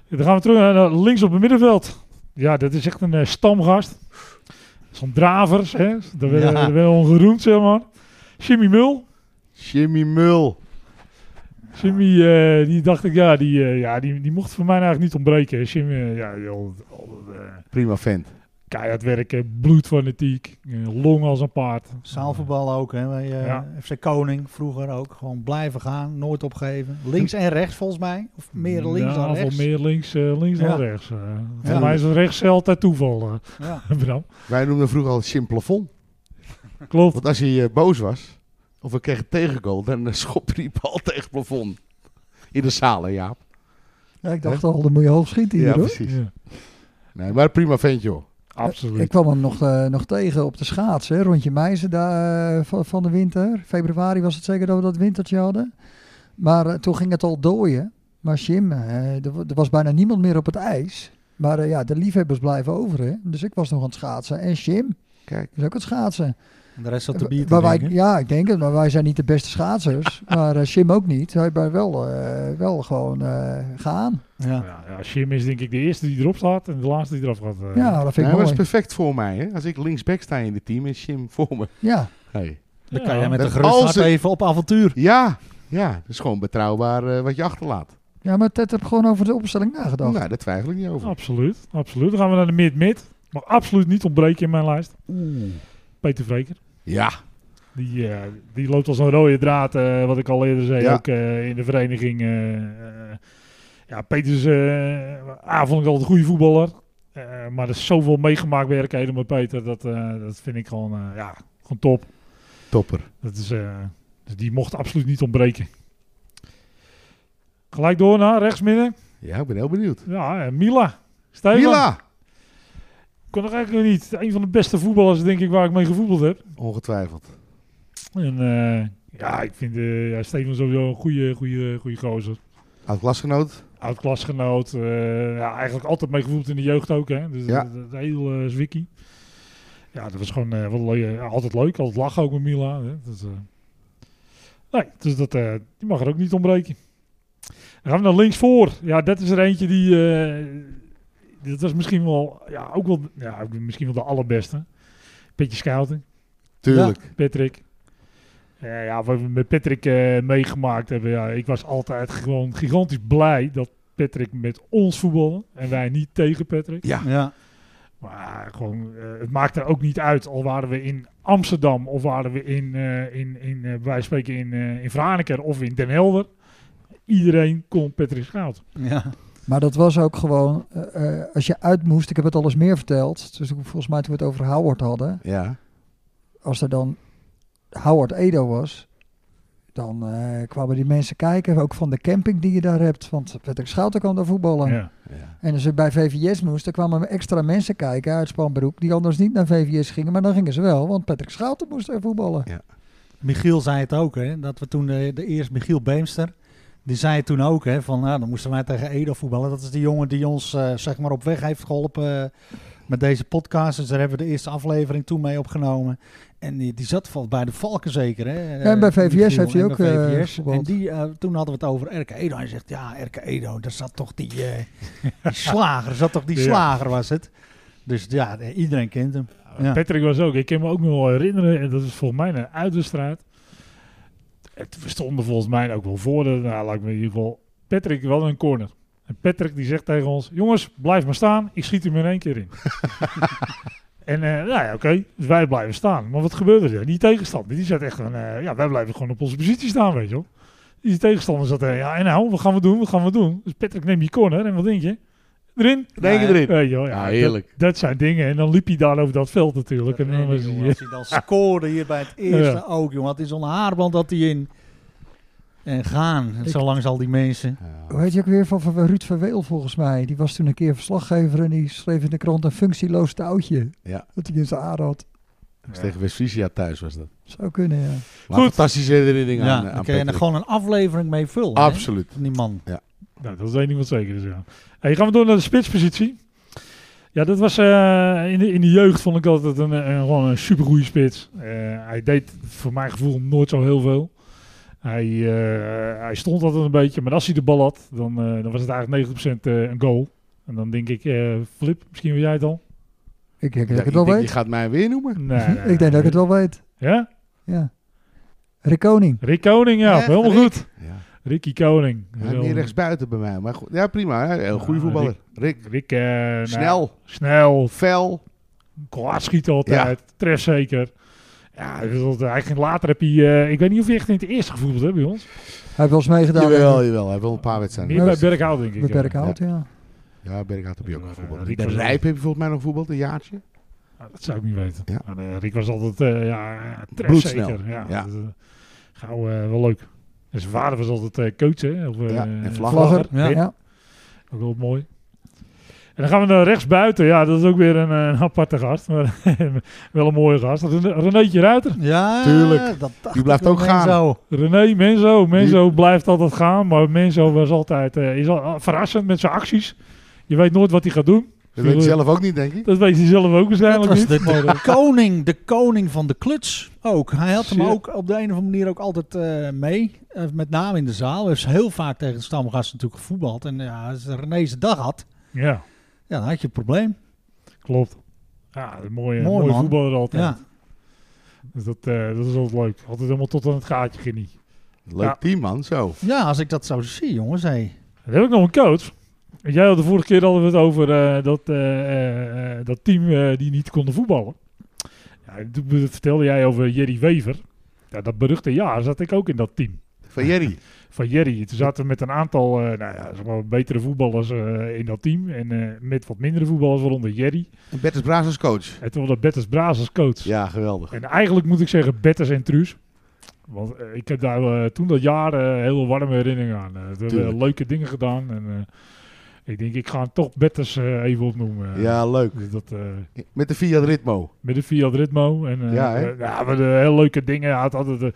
Speaker 2: Ja, Dan gaan we terug naar naar links op het middenveld. Ja, dat is echt een eh, stamgast. Zo'n dravers, hè. Daar ben
Speaker 1: Ja.
Speaker 2: daar ben je al geroemd, zeg maar. Jimmy Mul.
Speaker 4: Jimmy Mul.
Speaker 2: Jimmy, eh, die dacht ik, ja, die, eh, ja die, die mocht voor mij eigenlijk niet ontbreken. Jimmy, eh, ja, die al- al, eh,
Speaker 4: Prima vent.
Speaker 2: keihard werken, bloedfanatiek, eh, long als een paard.
Speaker 1: Zaalvoetbal ook, hè? Bij, eh,
Speaker 2: Ja.
Speaker 1: FC Koning vroeger ook. Gewoon blijven gaan, nooit opgeven. Links en rechts volgens mij. Of meer links
Speaker 2: ja,
Speaker 1: dan
Speaker 2: wel
Speaker 1: rechts.
Speaker 2: meer links, eh, links
Speaker 1: Ja.
Speaker 2: dan rechts. eh.
Speaker 1: Ja.
Speaker 2: Voor mij is het rechts altijd toeval, eh,
Speaker 1: Ja.
Speaker 2: [laughs] Bram.
Speaker 4: Wij noemden vroeger al Jim Plafond.
Speaker 2: Klopt.
Speaker 4: Want als hij eh, boos was, of we kregen een tegengoal, dan eh, schopte hij bal tegen het plafond. In de zaal, hè, Jaap?
Speaker 3: Ja, ik dacht al, dan moet je hoog schieten hier
Speaker 4: ja,
Speaker 3: hoor.
Speaker 4: precies.
Speaker 2: Ja,
Speaker 4: Nee, maar prima ventje, joh.
Speaker 2: absoluut.
Speaker 3: Ik kwam hem nog, eh, nog tegen op de schaats, hè, rondje Meizen daar, eh, van, van de winter. Februari was het zeker dat we dat wintertje hadden. Maar eh, toen ging het al dooien. Maar Jim, eh, er, wa- er was bijna niemand meer op het ijs. Maar eh, ja, de liefhebbers blijven over, hè. Dus ik was nog aan het schaatsen. En Jim
Speaker 4: Kijk.
Speaker 3: was ook aan het schaatsen.
Speaker 1: En de rest zat te bier te
Speaker 3: Maar wij,
Speaker 1: drinken.
Speaker 3: ja, ik denk het. Maar wij zijn niet de beste
Speaker 1: [laughs]
Speaker 3: schaatsers. maar eh, Jim ook niet. Hij bij wel, eh, wel gewoon eh, gaan.
Speaker 1: Ja.
Speaker 2: Ja, ja, Jim is denk ik de eerste die erop staat en de laatste die eraf gaat. eh.
Speaker 3: Ja, dat
Speaker 4: Nee,
Speaker 3: vind ik
Speaker 4: maar dat is
Speaker 3: mooi.
Speaker 4: perfect voor mij, hè? Als ik linksback sta in het team, is Jim voor me.
Speaker 3: Ja,
Speaker 4: Hey.
Speaker 1: Dan
Speaker 2: Ja.
Speaker 1: kan jij met
Speaker 4: Dat
Speaker 1: een gerust
Speaker 4: als
Speaker 1: hart
Speaker 4: het-
Speaker 1: even op avontuur.
Speaker 4: Ja, ja. Dat is gewoon betrouwbaar eh, wat je achterlaat.
Speaker 3: ja maar Ted heb gewoon over de opstelling nagedacht.
Speaker 4: Nou, daar twijfel ik niet over.
Speaker 2: Oh. Absoluut, absoluut. Dan gaan we naar de mid-mid. Mag absoluut niet ontbreken in mijn lijst. Peter Vreker.
Speaker 4: Ja,
Speaker 2: Die, eh, die loopt als een rode draad, eh, wat ik al eerder zei,
Speaker 4: Ja.
Speaker 2: ook eh, in de vereniging. eh, eh, ja, Peter is eh, A, vond ik altijd een goede voetballer. Eh, maar er is zoveel meegemaakt werkheden met Peter. Dat, eh, dat vind ik gewoon, eh, ja, gewoon top.
Speaker 4: topper.
Speaker 2: Dat is, eh, dus die mocht absoluut niet ontbreken. Gelijk door naar rechtsmidden.
Speaker 4: Ja, ik ben heel benieuwd.
Speaker 2: Ja, eh, Mila. Steven.
Speaker 4: Mila!
Speaker 2: Kon nog eigenlijk nog niet. Een van de beste voetballers, denk ik, waar ik mee gevoetbald heb.
Speaker 4: Ongetwijfeld.
Speaker 2: En eh, ja, ik vind eh ja, Steven sowieso een goede, goede, goede gozer.
Speaker 4: Oud-klasgenoot.
Speaker 2: Oud-klasgenoot. eh, ja, eigenlijk altijd mee gevoeld in de jeugd ook. Hè? Dus
Speaker 4: Ja.
Speaker 2: dat, dat- dat heel eh zwikkie. Ja, dat was gewoon eh, wat leuk, ja, altijd leuk. Altijd lachen ook met Mila. Hè? Dus, eh, nee, dus dat, eh, die mag er ook niet ontbreken. Dan gaan we naar links voor. Ja, dat is er eentje die... eh, dat was misschien wel, ja, ook wel, ja, misschien wel de allerbeste. Petje Schouten.
Speaker 4: Tuurlijk.
Speaker 2: Patrick. Ja, Eh, ja, wat we met Patrick eh, meegemaakt hebben. Ja, ik was altijd gewoon gigantisch blij dat Patrick met ons voetbalde. En wij niet tegen Patrick.
Speaker 4: Ja.
Speaker 1: Ja.
Speaker 2: Maar gewoon, eh, het maakt er ook niet uit. Al waren we in Amsterdam of waren we in, eh, in, in eh, wij spreken in, eh in Vraneker of in Den Helder. Iedereen kon Patrick Schout.
Speaker 1: Ja.
Speaker 3: Maar dat was ook gewoon, eh, eh, als je uit moest, ik heb het al eens meer verteld. Dus toen- volgens mij toen we het over Howard hadden,
Speaker 4: Ja.
Speaker 3: als er dan Howard Edo was, dan eh, kwamen die mensen kijken, ook van de camping die je daar hebt. Want Patrick Schouten kwam daar voetballen.
Speaker 2: Ja.
Speaker 4: ja.
Speaker 3: En als je bij VVS moest, dan kwamen extra mensen kijken uit Spanbroek, die anders niet naar VVS gingen. Maar dan gingen ze wel, want Patrick Schouten moest er voetballen.
Speaker 1: Michiel zei het ook, hè? Dat we toen de, de eerste Michiel Beemster. Die zei het toen ook, hè? Van nou, dan moesten wij tegen Edo voetballen. Dat is die jongen die ons, eh, zeg maar, op weg heeft geholpen eh, met deze podcast. Dus daar hebben we de eerste aflevering toen mee opgenomen. En die, die zat vol- bij de Valken zeker, hè? eh,
Speaker 3: En bij VVS
Speaker 1: Michiel,
Speaker 3: heeft hij
Speaker 1: en
Speaker 3: ook,
Speaker 1: bij
Speaker 3: eh,
Speaker 1: VVS. en
Speaker 3: gevoetbald.
Speaker 1: die, eh, toen hadden we het over Erke Edo. Hij zegt, ja, Erke Edo, daar zat toch die, eh, die [laughs] slager. Zat toch die
Speaker 2: Ja.
Speaker 1: slager, was het? Dus ja, iedereen kent hem. Ja.
Speaker 2: Patrick was ook. Ik kan me ook nog wel herinneren, en dat is volgens mij een uitwedstrijd. Het we stonden volgens mij ook wel voor de, nou, laat ik me in ieder geval. Patrick wel een corner. En Patrick die zegt tegen ons: Jongens, blijf maar staan. Ik schiet hem in één keer in. en eh, nou ja, oké. Dus wij blijven staan. Maar wat gebeurde er? Die tegenstander die zat echt van: eh, Ja, wij blijven gewoon op onze positie staan, weet je wel. Die tegenstander zat er, ja, en nou, wat gaan we doen? Wat gaan we doen? Dus Patrick neemt die corner en wat denk je? Erin.
Speaker 4: Denk je
Speaker 1: Ja,
Speaker 4: erin?
Speaker 2: Weet je wel,
Speaker 4: Ja,
Speaker 2: ja,
Speaker 4: heerlijk.
Speaker 2: Dat, dat zijn dingen. En dan liep hij daar over dat veld natuurlijk.
Speaker 1: Dat
Speaker 2: en dan
Speaker 1: weet
Speaker 2: was
Speaker 1: ik,
Speaker 2: hij,
Speaker 1: jongen. Als hij dan scoorde hier bij [laughs] het eerste
Speaker 2: Ja.
Speaker 1: ook, jongen. Het is een haarband dat hij in. En gaan, en zo langs al die mensen.
Speaker 3: Hoe heet je ook weer van, van Ruud Verweel volgens mij? Die was toen een keer verslaggever en die schreef in de krant een functieloos touwtje.
Speaker 4: Ja.
Speaker 3: Dat hij in zijn aard had.
Speaker 4: Dus tegen West-Friesia thuis was dat.
Speaker 3: Zou kunnen, ja.
Speaker 4: Maar
Speaker 2: Goed.
Speaker 4: fantastische herinnering
Speaker 1: Ja,
Speaker 4: aan, eh,
Speaker 1: dan
Speaker 4: aan
Speaker 1: kun je er
Speaker 4: Patrick.
Speaker 1: gewoon een aflevering mee vullen. hè,
Speaker 4: Absoluut.
Speaker 1: Van die man.
Speaker 2: Nou, dat is één ding wat zeker is, ja. Hey, gaan we door naar de spitspositie. Ja, dat was eh, in, de, in de jeugd vond ik altijd een, een, gewoon een supergoeie spits. Eh, hij deed voor mijn gevoel nooit zo heel veel. Hij, eh, hij stond altijd een beetje, maar als hij de bal had, dan, eh, dan was het eigenlijk 90% eh, een goal. En dan denk ik, eh, Flip, misschien wil jij het
Speaker 3: [laughs]
Speaker 2: al?
Speaker 3: Ik denk dat ik
Speaker 4: Ja,
Speaker 3: het
Speaker 4: ik
Speaker 3: wel
Speaker 4: denk, eh,
Speaker 3: weet.
Speaker 4: je gaat mij weer noemen.
Speaker 2: Nee, nee,
Speaker 3: [laughs] ik denk dat ik het wel weet.
Speaker 2: Ja?
Speaker 3: Ja. Rick Koning.
Speaker 2: Rick Koning, ja.
Speaker 1: Echt,
Speaker 2: helemaal
Speaker 1: Rick?
Speaker 2: goed.
Speaker 4: Ja.
Speaker 2: Ricky Koning.
Speaker 4: Hij is meer rechtsbuiten bij mij. Nou, Maar goed, ja, prima. hè. Heel goede
Speaker 2: Ja,
Speaker 4: voetballer. Rick.
Speaker 2: Rick, eh, nou,
Speaker 4: Snel,
Speaker 2: snel,
Speaker 4: fel,
Speaker 2: Klaar schiet altijd, tref zeker. Ja, dus dat- hij ging later heb hij, eh, ik weet niet of hij echt in het eerste gevoeld hebt bij ons.
Speaker 3: Hij heeft wel eens meegedaan
Speaker 4: Jawel,
Speaker 3: bij
Speaker 4: jawel. Hij wil een paar wedstrijden.
Speaker 2: Meer bij Berghout denk ik.
Speaker 3: bij
Speaker 2: ja.
Speaker 3: Berkhout, ja.
Speaker 4: Ja, Berghout heb je ook gevoetbald.
Speaker 2: Nou, Rick
Speaker 4: De
Speaker 2: was-
Speaker 4: Rijp heb je volgens mij nog voetbald, een jaartje.
Speaker 2: Ja, dat zou ik niet weten.
Speaker 4: Ja.
Speaker 2: Maar, eh, Rick was altijd, eh ja, tref
Speaker 4: Bloedsnel.
Speaker 2: zeker. Ja,
Speaker 4: Ja.
Speaker 2: dat, eh, gauw eh, wel leuk. En zijn vader was altijd eh coach, hè? Of, eh,
Speaker 4: Ja, en vlagger.
Speaker 3: Vlagger,
Speaker 1: Ja.
Speaker 3: ja.
Speaker 2: Ook wel mooi. En dan gaan we naar rechts buiten. Ja, dat is ook weer een, eh, een aparte gast. Maar [laughs] wel een mooie gast. Ren- Renéetje Ruiter.
Speaker 1: Ja,
Speaker 4: Tuurlijk.
Speaker 1: Dat dacht
Speaker 4: Die blijft
Speaker 1: ik wel
Speaker 4: ook
Speaker 1: mee
Speaker 4: gaan.
Speaker 1: Zo.
Speaker 2: René Menzo. Menzo blijft altijd gaan. Maar Menzo was altijd, eh, is al, verrassend met zijn acties. Je weet nooit wat hij gaat doen.
Speaker 4: Dat weet je zelf ook niet, denk ik.
Speaker 2: Dat weet hij zelf ook
Speaker 1: Dat
Speaker 2: waarschijnlijk
Speaker 1: was
Speaker 2: niet.
Speaker 1: de,
Speaker 2: Maar,
Speaker 1: de koning, de koning van de kluts ook. Hij had hem
Speaker 2: Zeer.
Speaker 1: ook op de een of andere manier ook altijd eh, mee. Eh, met name in de zaal. Hij heeft heel vaak tegen de stamgast natuurlijk gevoetbald. En ja, als René zijn dag had,
Speaker 2: eh, ja,
Speaker 1: ja, dan had je een probleem.
Speaker 2: klopt. Ja, een mooie,
Speaker 1: Mooi,
Speaker 2: mooie
Speaker 1: man.
Speaker 2: voetballer altijd.
Speaker 1: Ja.
Speaker 2: Dus dat, eh, dat is altijd leuk. Altijd helemaal tot aan het gaatje ging hij.
Speaker 4: Leuk
Speaker 2: Ja.
Speaker 4: team, man. Zo.
Speaker 1: ja, als ik dat zo zie, jongens. Hey.
Speaker 2: Dan heb ik nog een coach. Jij had de vorige keer hadden we het over eh, dat, eh, eh, eh, dat team eh, die niet konden voetballen. Ja, toen be- vertelde jij over Jerry Wever. Ja, dat beruchte jaar zat ik ook in dat team.
Speaker 4: Van Jerry.
Speaker 2: Van Jerry. Toen zaten we met een aantal eh, nou ja, zeg maar betere voetballers eh, in dat team. En eh, met wat mindere voetballers, waaronder Jerry.
Speaker 4: En Bertus Braas als coach.
Speaker 2: En toen hadden Bertus Braas als coach.
Speaker 4: Ja, geweldig.
Speaker 2: En eigenlijk moet ik zeggen Betters en Truus. Want eh, ik heb daar eh, toen dat jaar eh, heel warme herinneringen aan. Eh, we hebben
Speaker 4: Tuurlijk.
Speaker 2: leuke dingen gedaan. En eh, ik denk, ik ga hem toch Betters eh, even opnoemen. Eh,
Speaker 4: Ja, leuk.
Speaker 2: Dus dat, eh,
Speaker 4: Met de Fiat Ritmo.
Speaker 2: met de Fiat Ritmo. En, eh,
Speaker 4: Ja, hè?
Speaker 2: eh, ja, we hadden heel leuke dingen. Hij Had altijd, eh,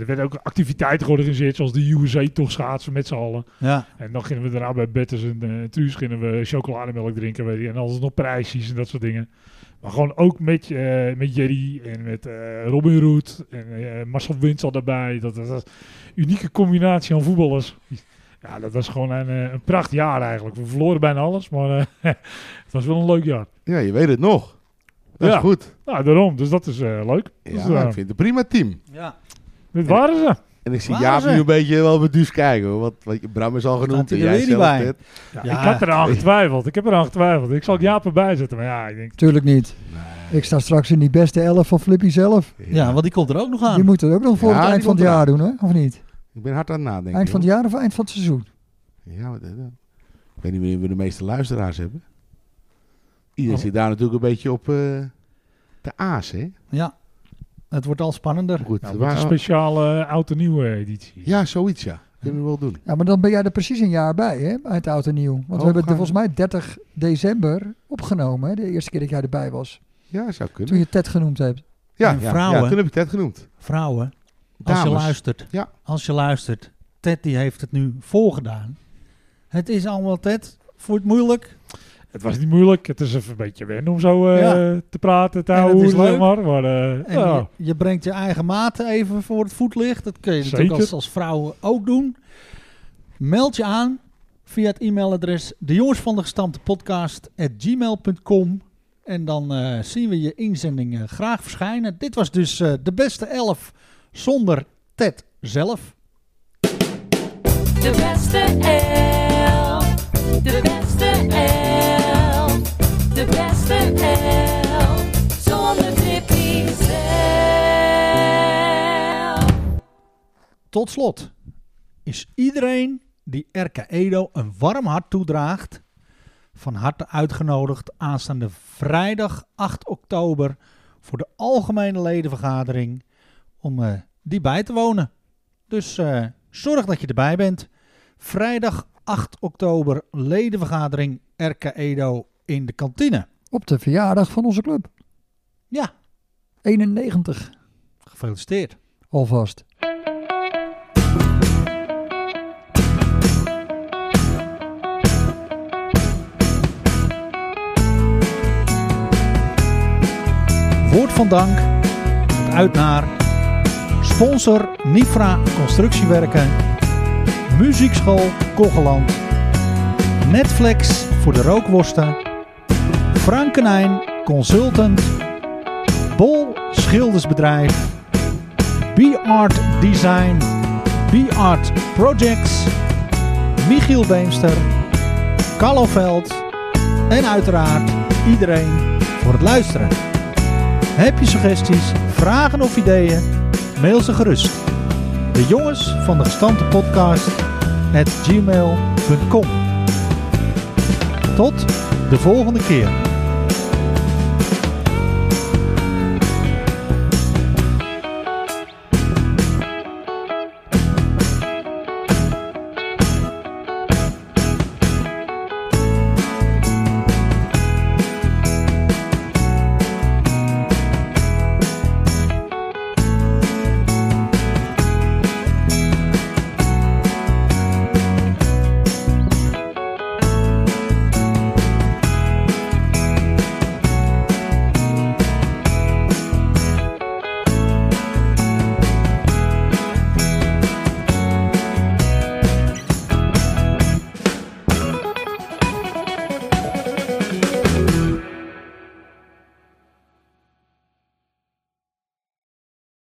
Speaker 2: er werden ook activiteiten georganiseerd, zoals de USA toch schaatsen met z'n allen.
Speaker 1: Ja.
Speaker 2: En dan gingen we daarna bij Betters en eh Truus gingen we chocolademelk drinken. Weet je, en alles nog prijsjes en dat soort dingen. Maar gewoon ook met, eh, met Jerry en met eh, Robin Roet en eh, Marcel Wins al daarbij. Dat was een unieke combinatie aan voetballers. Ja, dat was gewoon een, eh, een pracht jaar eigenlijk. We verloren bijna alles, maar eh, [laughs] het was wel een leuk jaar.
Speaker 4: Ja, je weet het nog. Dat
Speaker 2: Ja.
Speaker 4: is goed.
Speaker 2: Nou, daarom. Dus dat is eh, leuk.
Speaker 4: Ja,
Speaker 2: Dus,
Speaker 4: ik
Speaker 2: eh,
Speaker 4: vind het een prima team.
Speaker 1: ja.
Speaker 2: dit waren ze.
Speaker 4: En ik zie
Speaker 1: Waar
Speaker 4: Jaap
Speaker 1: ze?
Speaker 4: nu een beetje wel beduusd kijken. Hoor. Want, want Bram is al genoemd.
Speaker 1: hij
Speaker 4: En
Speaker 1: er
Speaker 4: jij
Speaker 1: weer niet
Speaker 4: zelf
Speaker 1: bij?
Speaker 4: net.
Speaker 2: Ja,
Speaker 1: Ja.
Speaker 2: Ik had eraan getwijfeld. Ik heb eraan getwijfeld. Ik zal het Jaap erbij zetten. Maar ja, ik denk,
Speaker 3: Tuurlijk niet. Ik sta straks in die beste elf van Flippy zelf.
Speaker 1: ja, want die komt er ook nog aan.
Speaker 3: Die moet het ook nog voor
Speaker 4: Ah. Ja,
Speaker 3: het eind
Speaker 4: die
Speaker 3: van het
Speaker 4: komt
Speaker 3: jaar doen, hè? Of niet?
Speaker 4: Ik ben hard aan het nadenken.
Speaker 3: Eind van het jaar of eind van het seizoen?
Speaker 4: joh. Ja, wat- eh, ik weet niet wanneer we de meeste luisteraars hebben. Iedereen
Speaker 2: Oh.
Speaker 4: zit daar natuurlijk een beetje op eh, de aas, hè?
Speaker 1: Ja. Het wordt al spannender.
Speaker 4: Maar Goed,
Speaker 2: nou,
Speaker 4: waar-
Speaker 2: een speciale eh, oud en nieuwe editie.
Speaker 4: Ja, zoiets, ja. Kunnen we wel doen.
Speaker 3: Ja, maar dan ben jij er precies een jaar bij, hè? Uit oud en nieuw. Want we
Speaker 4: Oh,
Speaker 3: hebben het
Speaker 4: gaan we-
Speaker 3: volgens mij 30 december opgenomen, hè? De eerste keer dat jij erbij was.
Speaker 4: Ja, zou kunnen.
Speaker 3: Toen je Ted genoemd hebt.
Speaker 4: Ja,
Speaker 1: En
Speaker 4: ja,
Speaker 1: vrouwen.
Speaker 4: ja, toen heb ik Ted genoemd.
Speaker 1: Vrouwen, als
Speaker 4: Dames.
Speaker 1: je luistert.
Speaker 4: Ja.
Speaker 1: Als je luistert. Ted die heeft het nu voorgedaan. Het is allemaal Ted. Voelt het moeilijk?
Speaker 2: Het was niet moeilijk. Het is even een beetje wennen om zo eh,
Speaker 1: Ja.
Speaker 2: te praten, te
Speaker 1: En het
Speaker 2: houden,
Speaker 1: is
Speaker 2: zeg
Speaker 1: leuk.
Speaker 2: maar. maar eh,
Speaker 1: En
Speaker 2: ja.
Speaker 1: je, je brengt je eigen maten even voor het voetlicht. Dat kun je natuurlijk
Speaker 2: Zeker.
Speaker 1: als, als vrouwen ook doen. Meld je aan via het e-mailadres de jongens van de gestampte podcast En dan eh, zien we je inzending eh, graag verschijnen. Dit was dus eh, de beste elf zonder Ted zelf.
Speaker 7: De beste elf. De beste elf. De beste elf. Zonder Tippy zelf.
Speaker 1: Tot slot is iedereen die RK Edo een warm hart toedraagt van harte uitgenodigd aanstaande vrijdag 8 oktober voor de algemene ledenvergadering om eh, die bij te wonen. Dus eh, zorg dat je erbij bent. Vrijdag 8 oktober ledenvergadering RK Edo in de kantine.
Speaker 3: Op de verjaardag van onze club.
Speaker 1: Ja,
Speaker 3: 91
Speaker 1: gefeliciteerd.
Speaker 3: alvast.
Speaker 1: Woord van dank gaat uit naar sponsor Nifra Constructiewerken, Muziekschool Kogeland, Netflix voor de rookworsten, Frankenijn Consultant, Bol Schildersbedrijf, B-Art Design, B-Art Projects, Michiel Beemster, Kalloveld en uiteraard iedereen voor het luisteren. Heb je suggesties, vragen of ideeën? Mail ze gerust. De jongens van de gestampte podcast at gmail.com. Tot de volgende keer.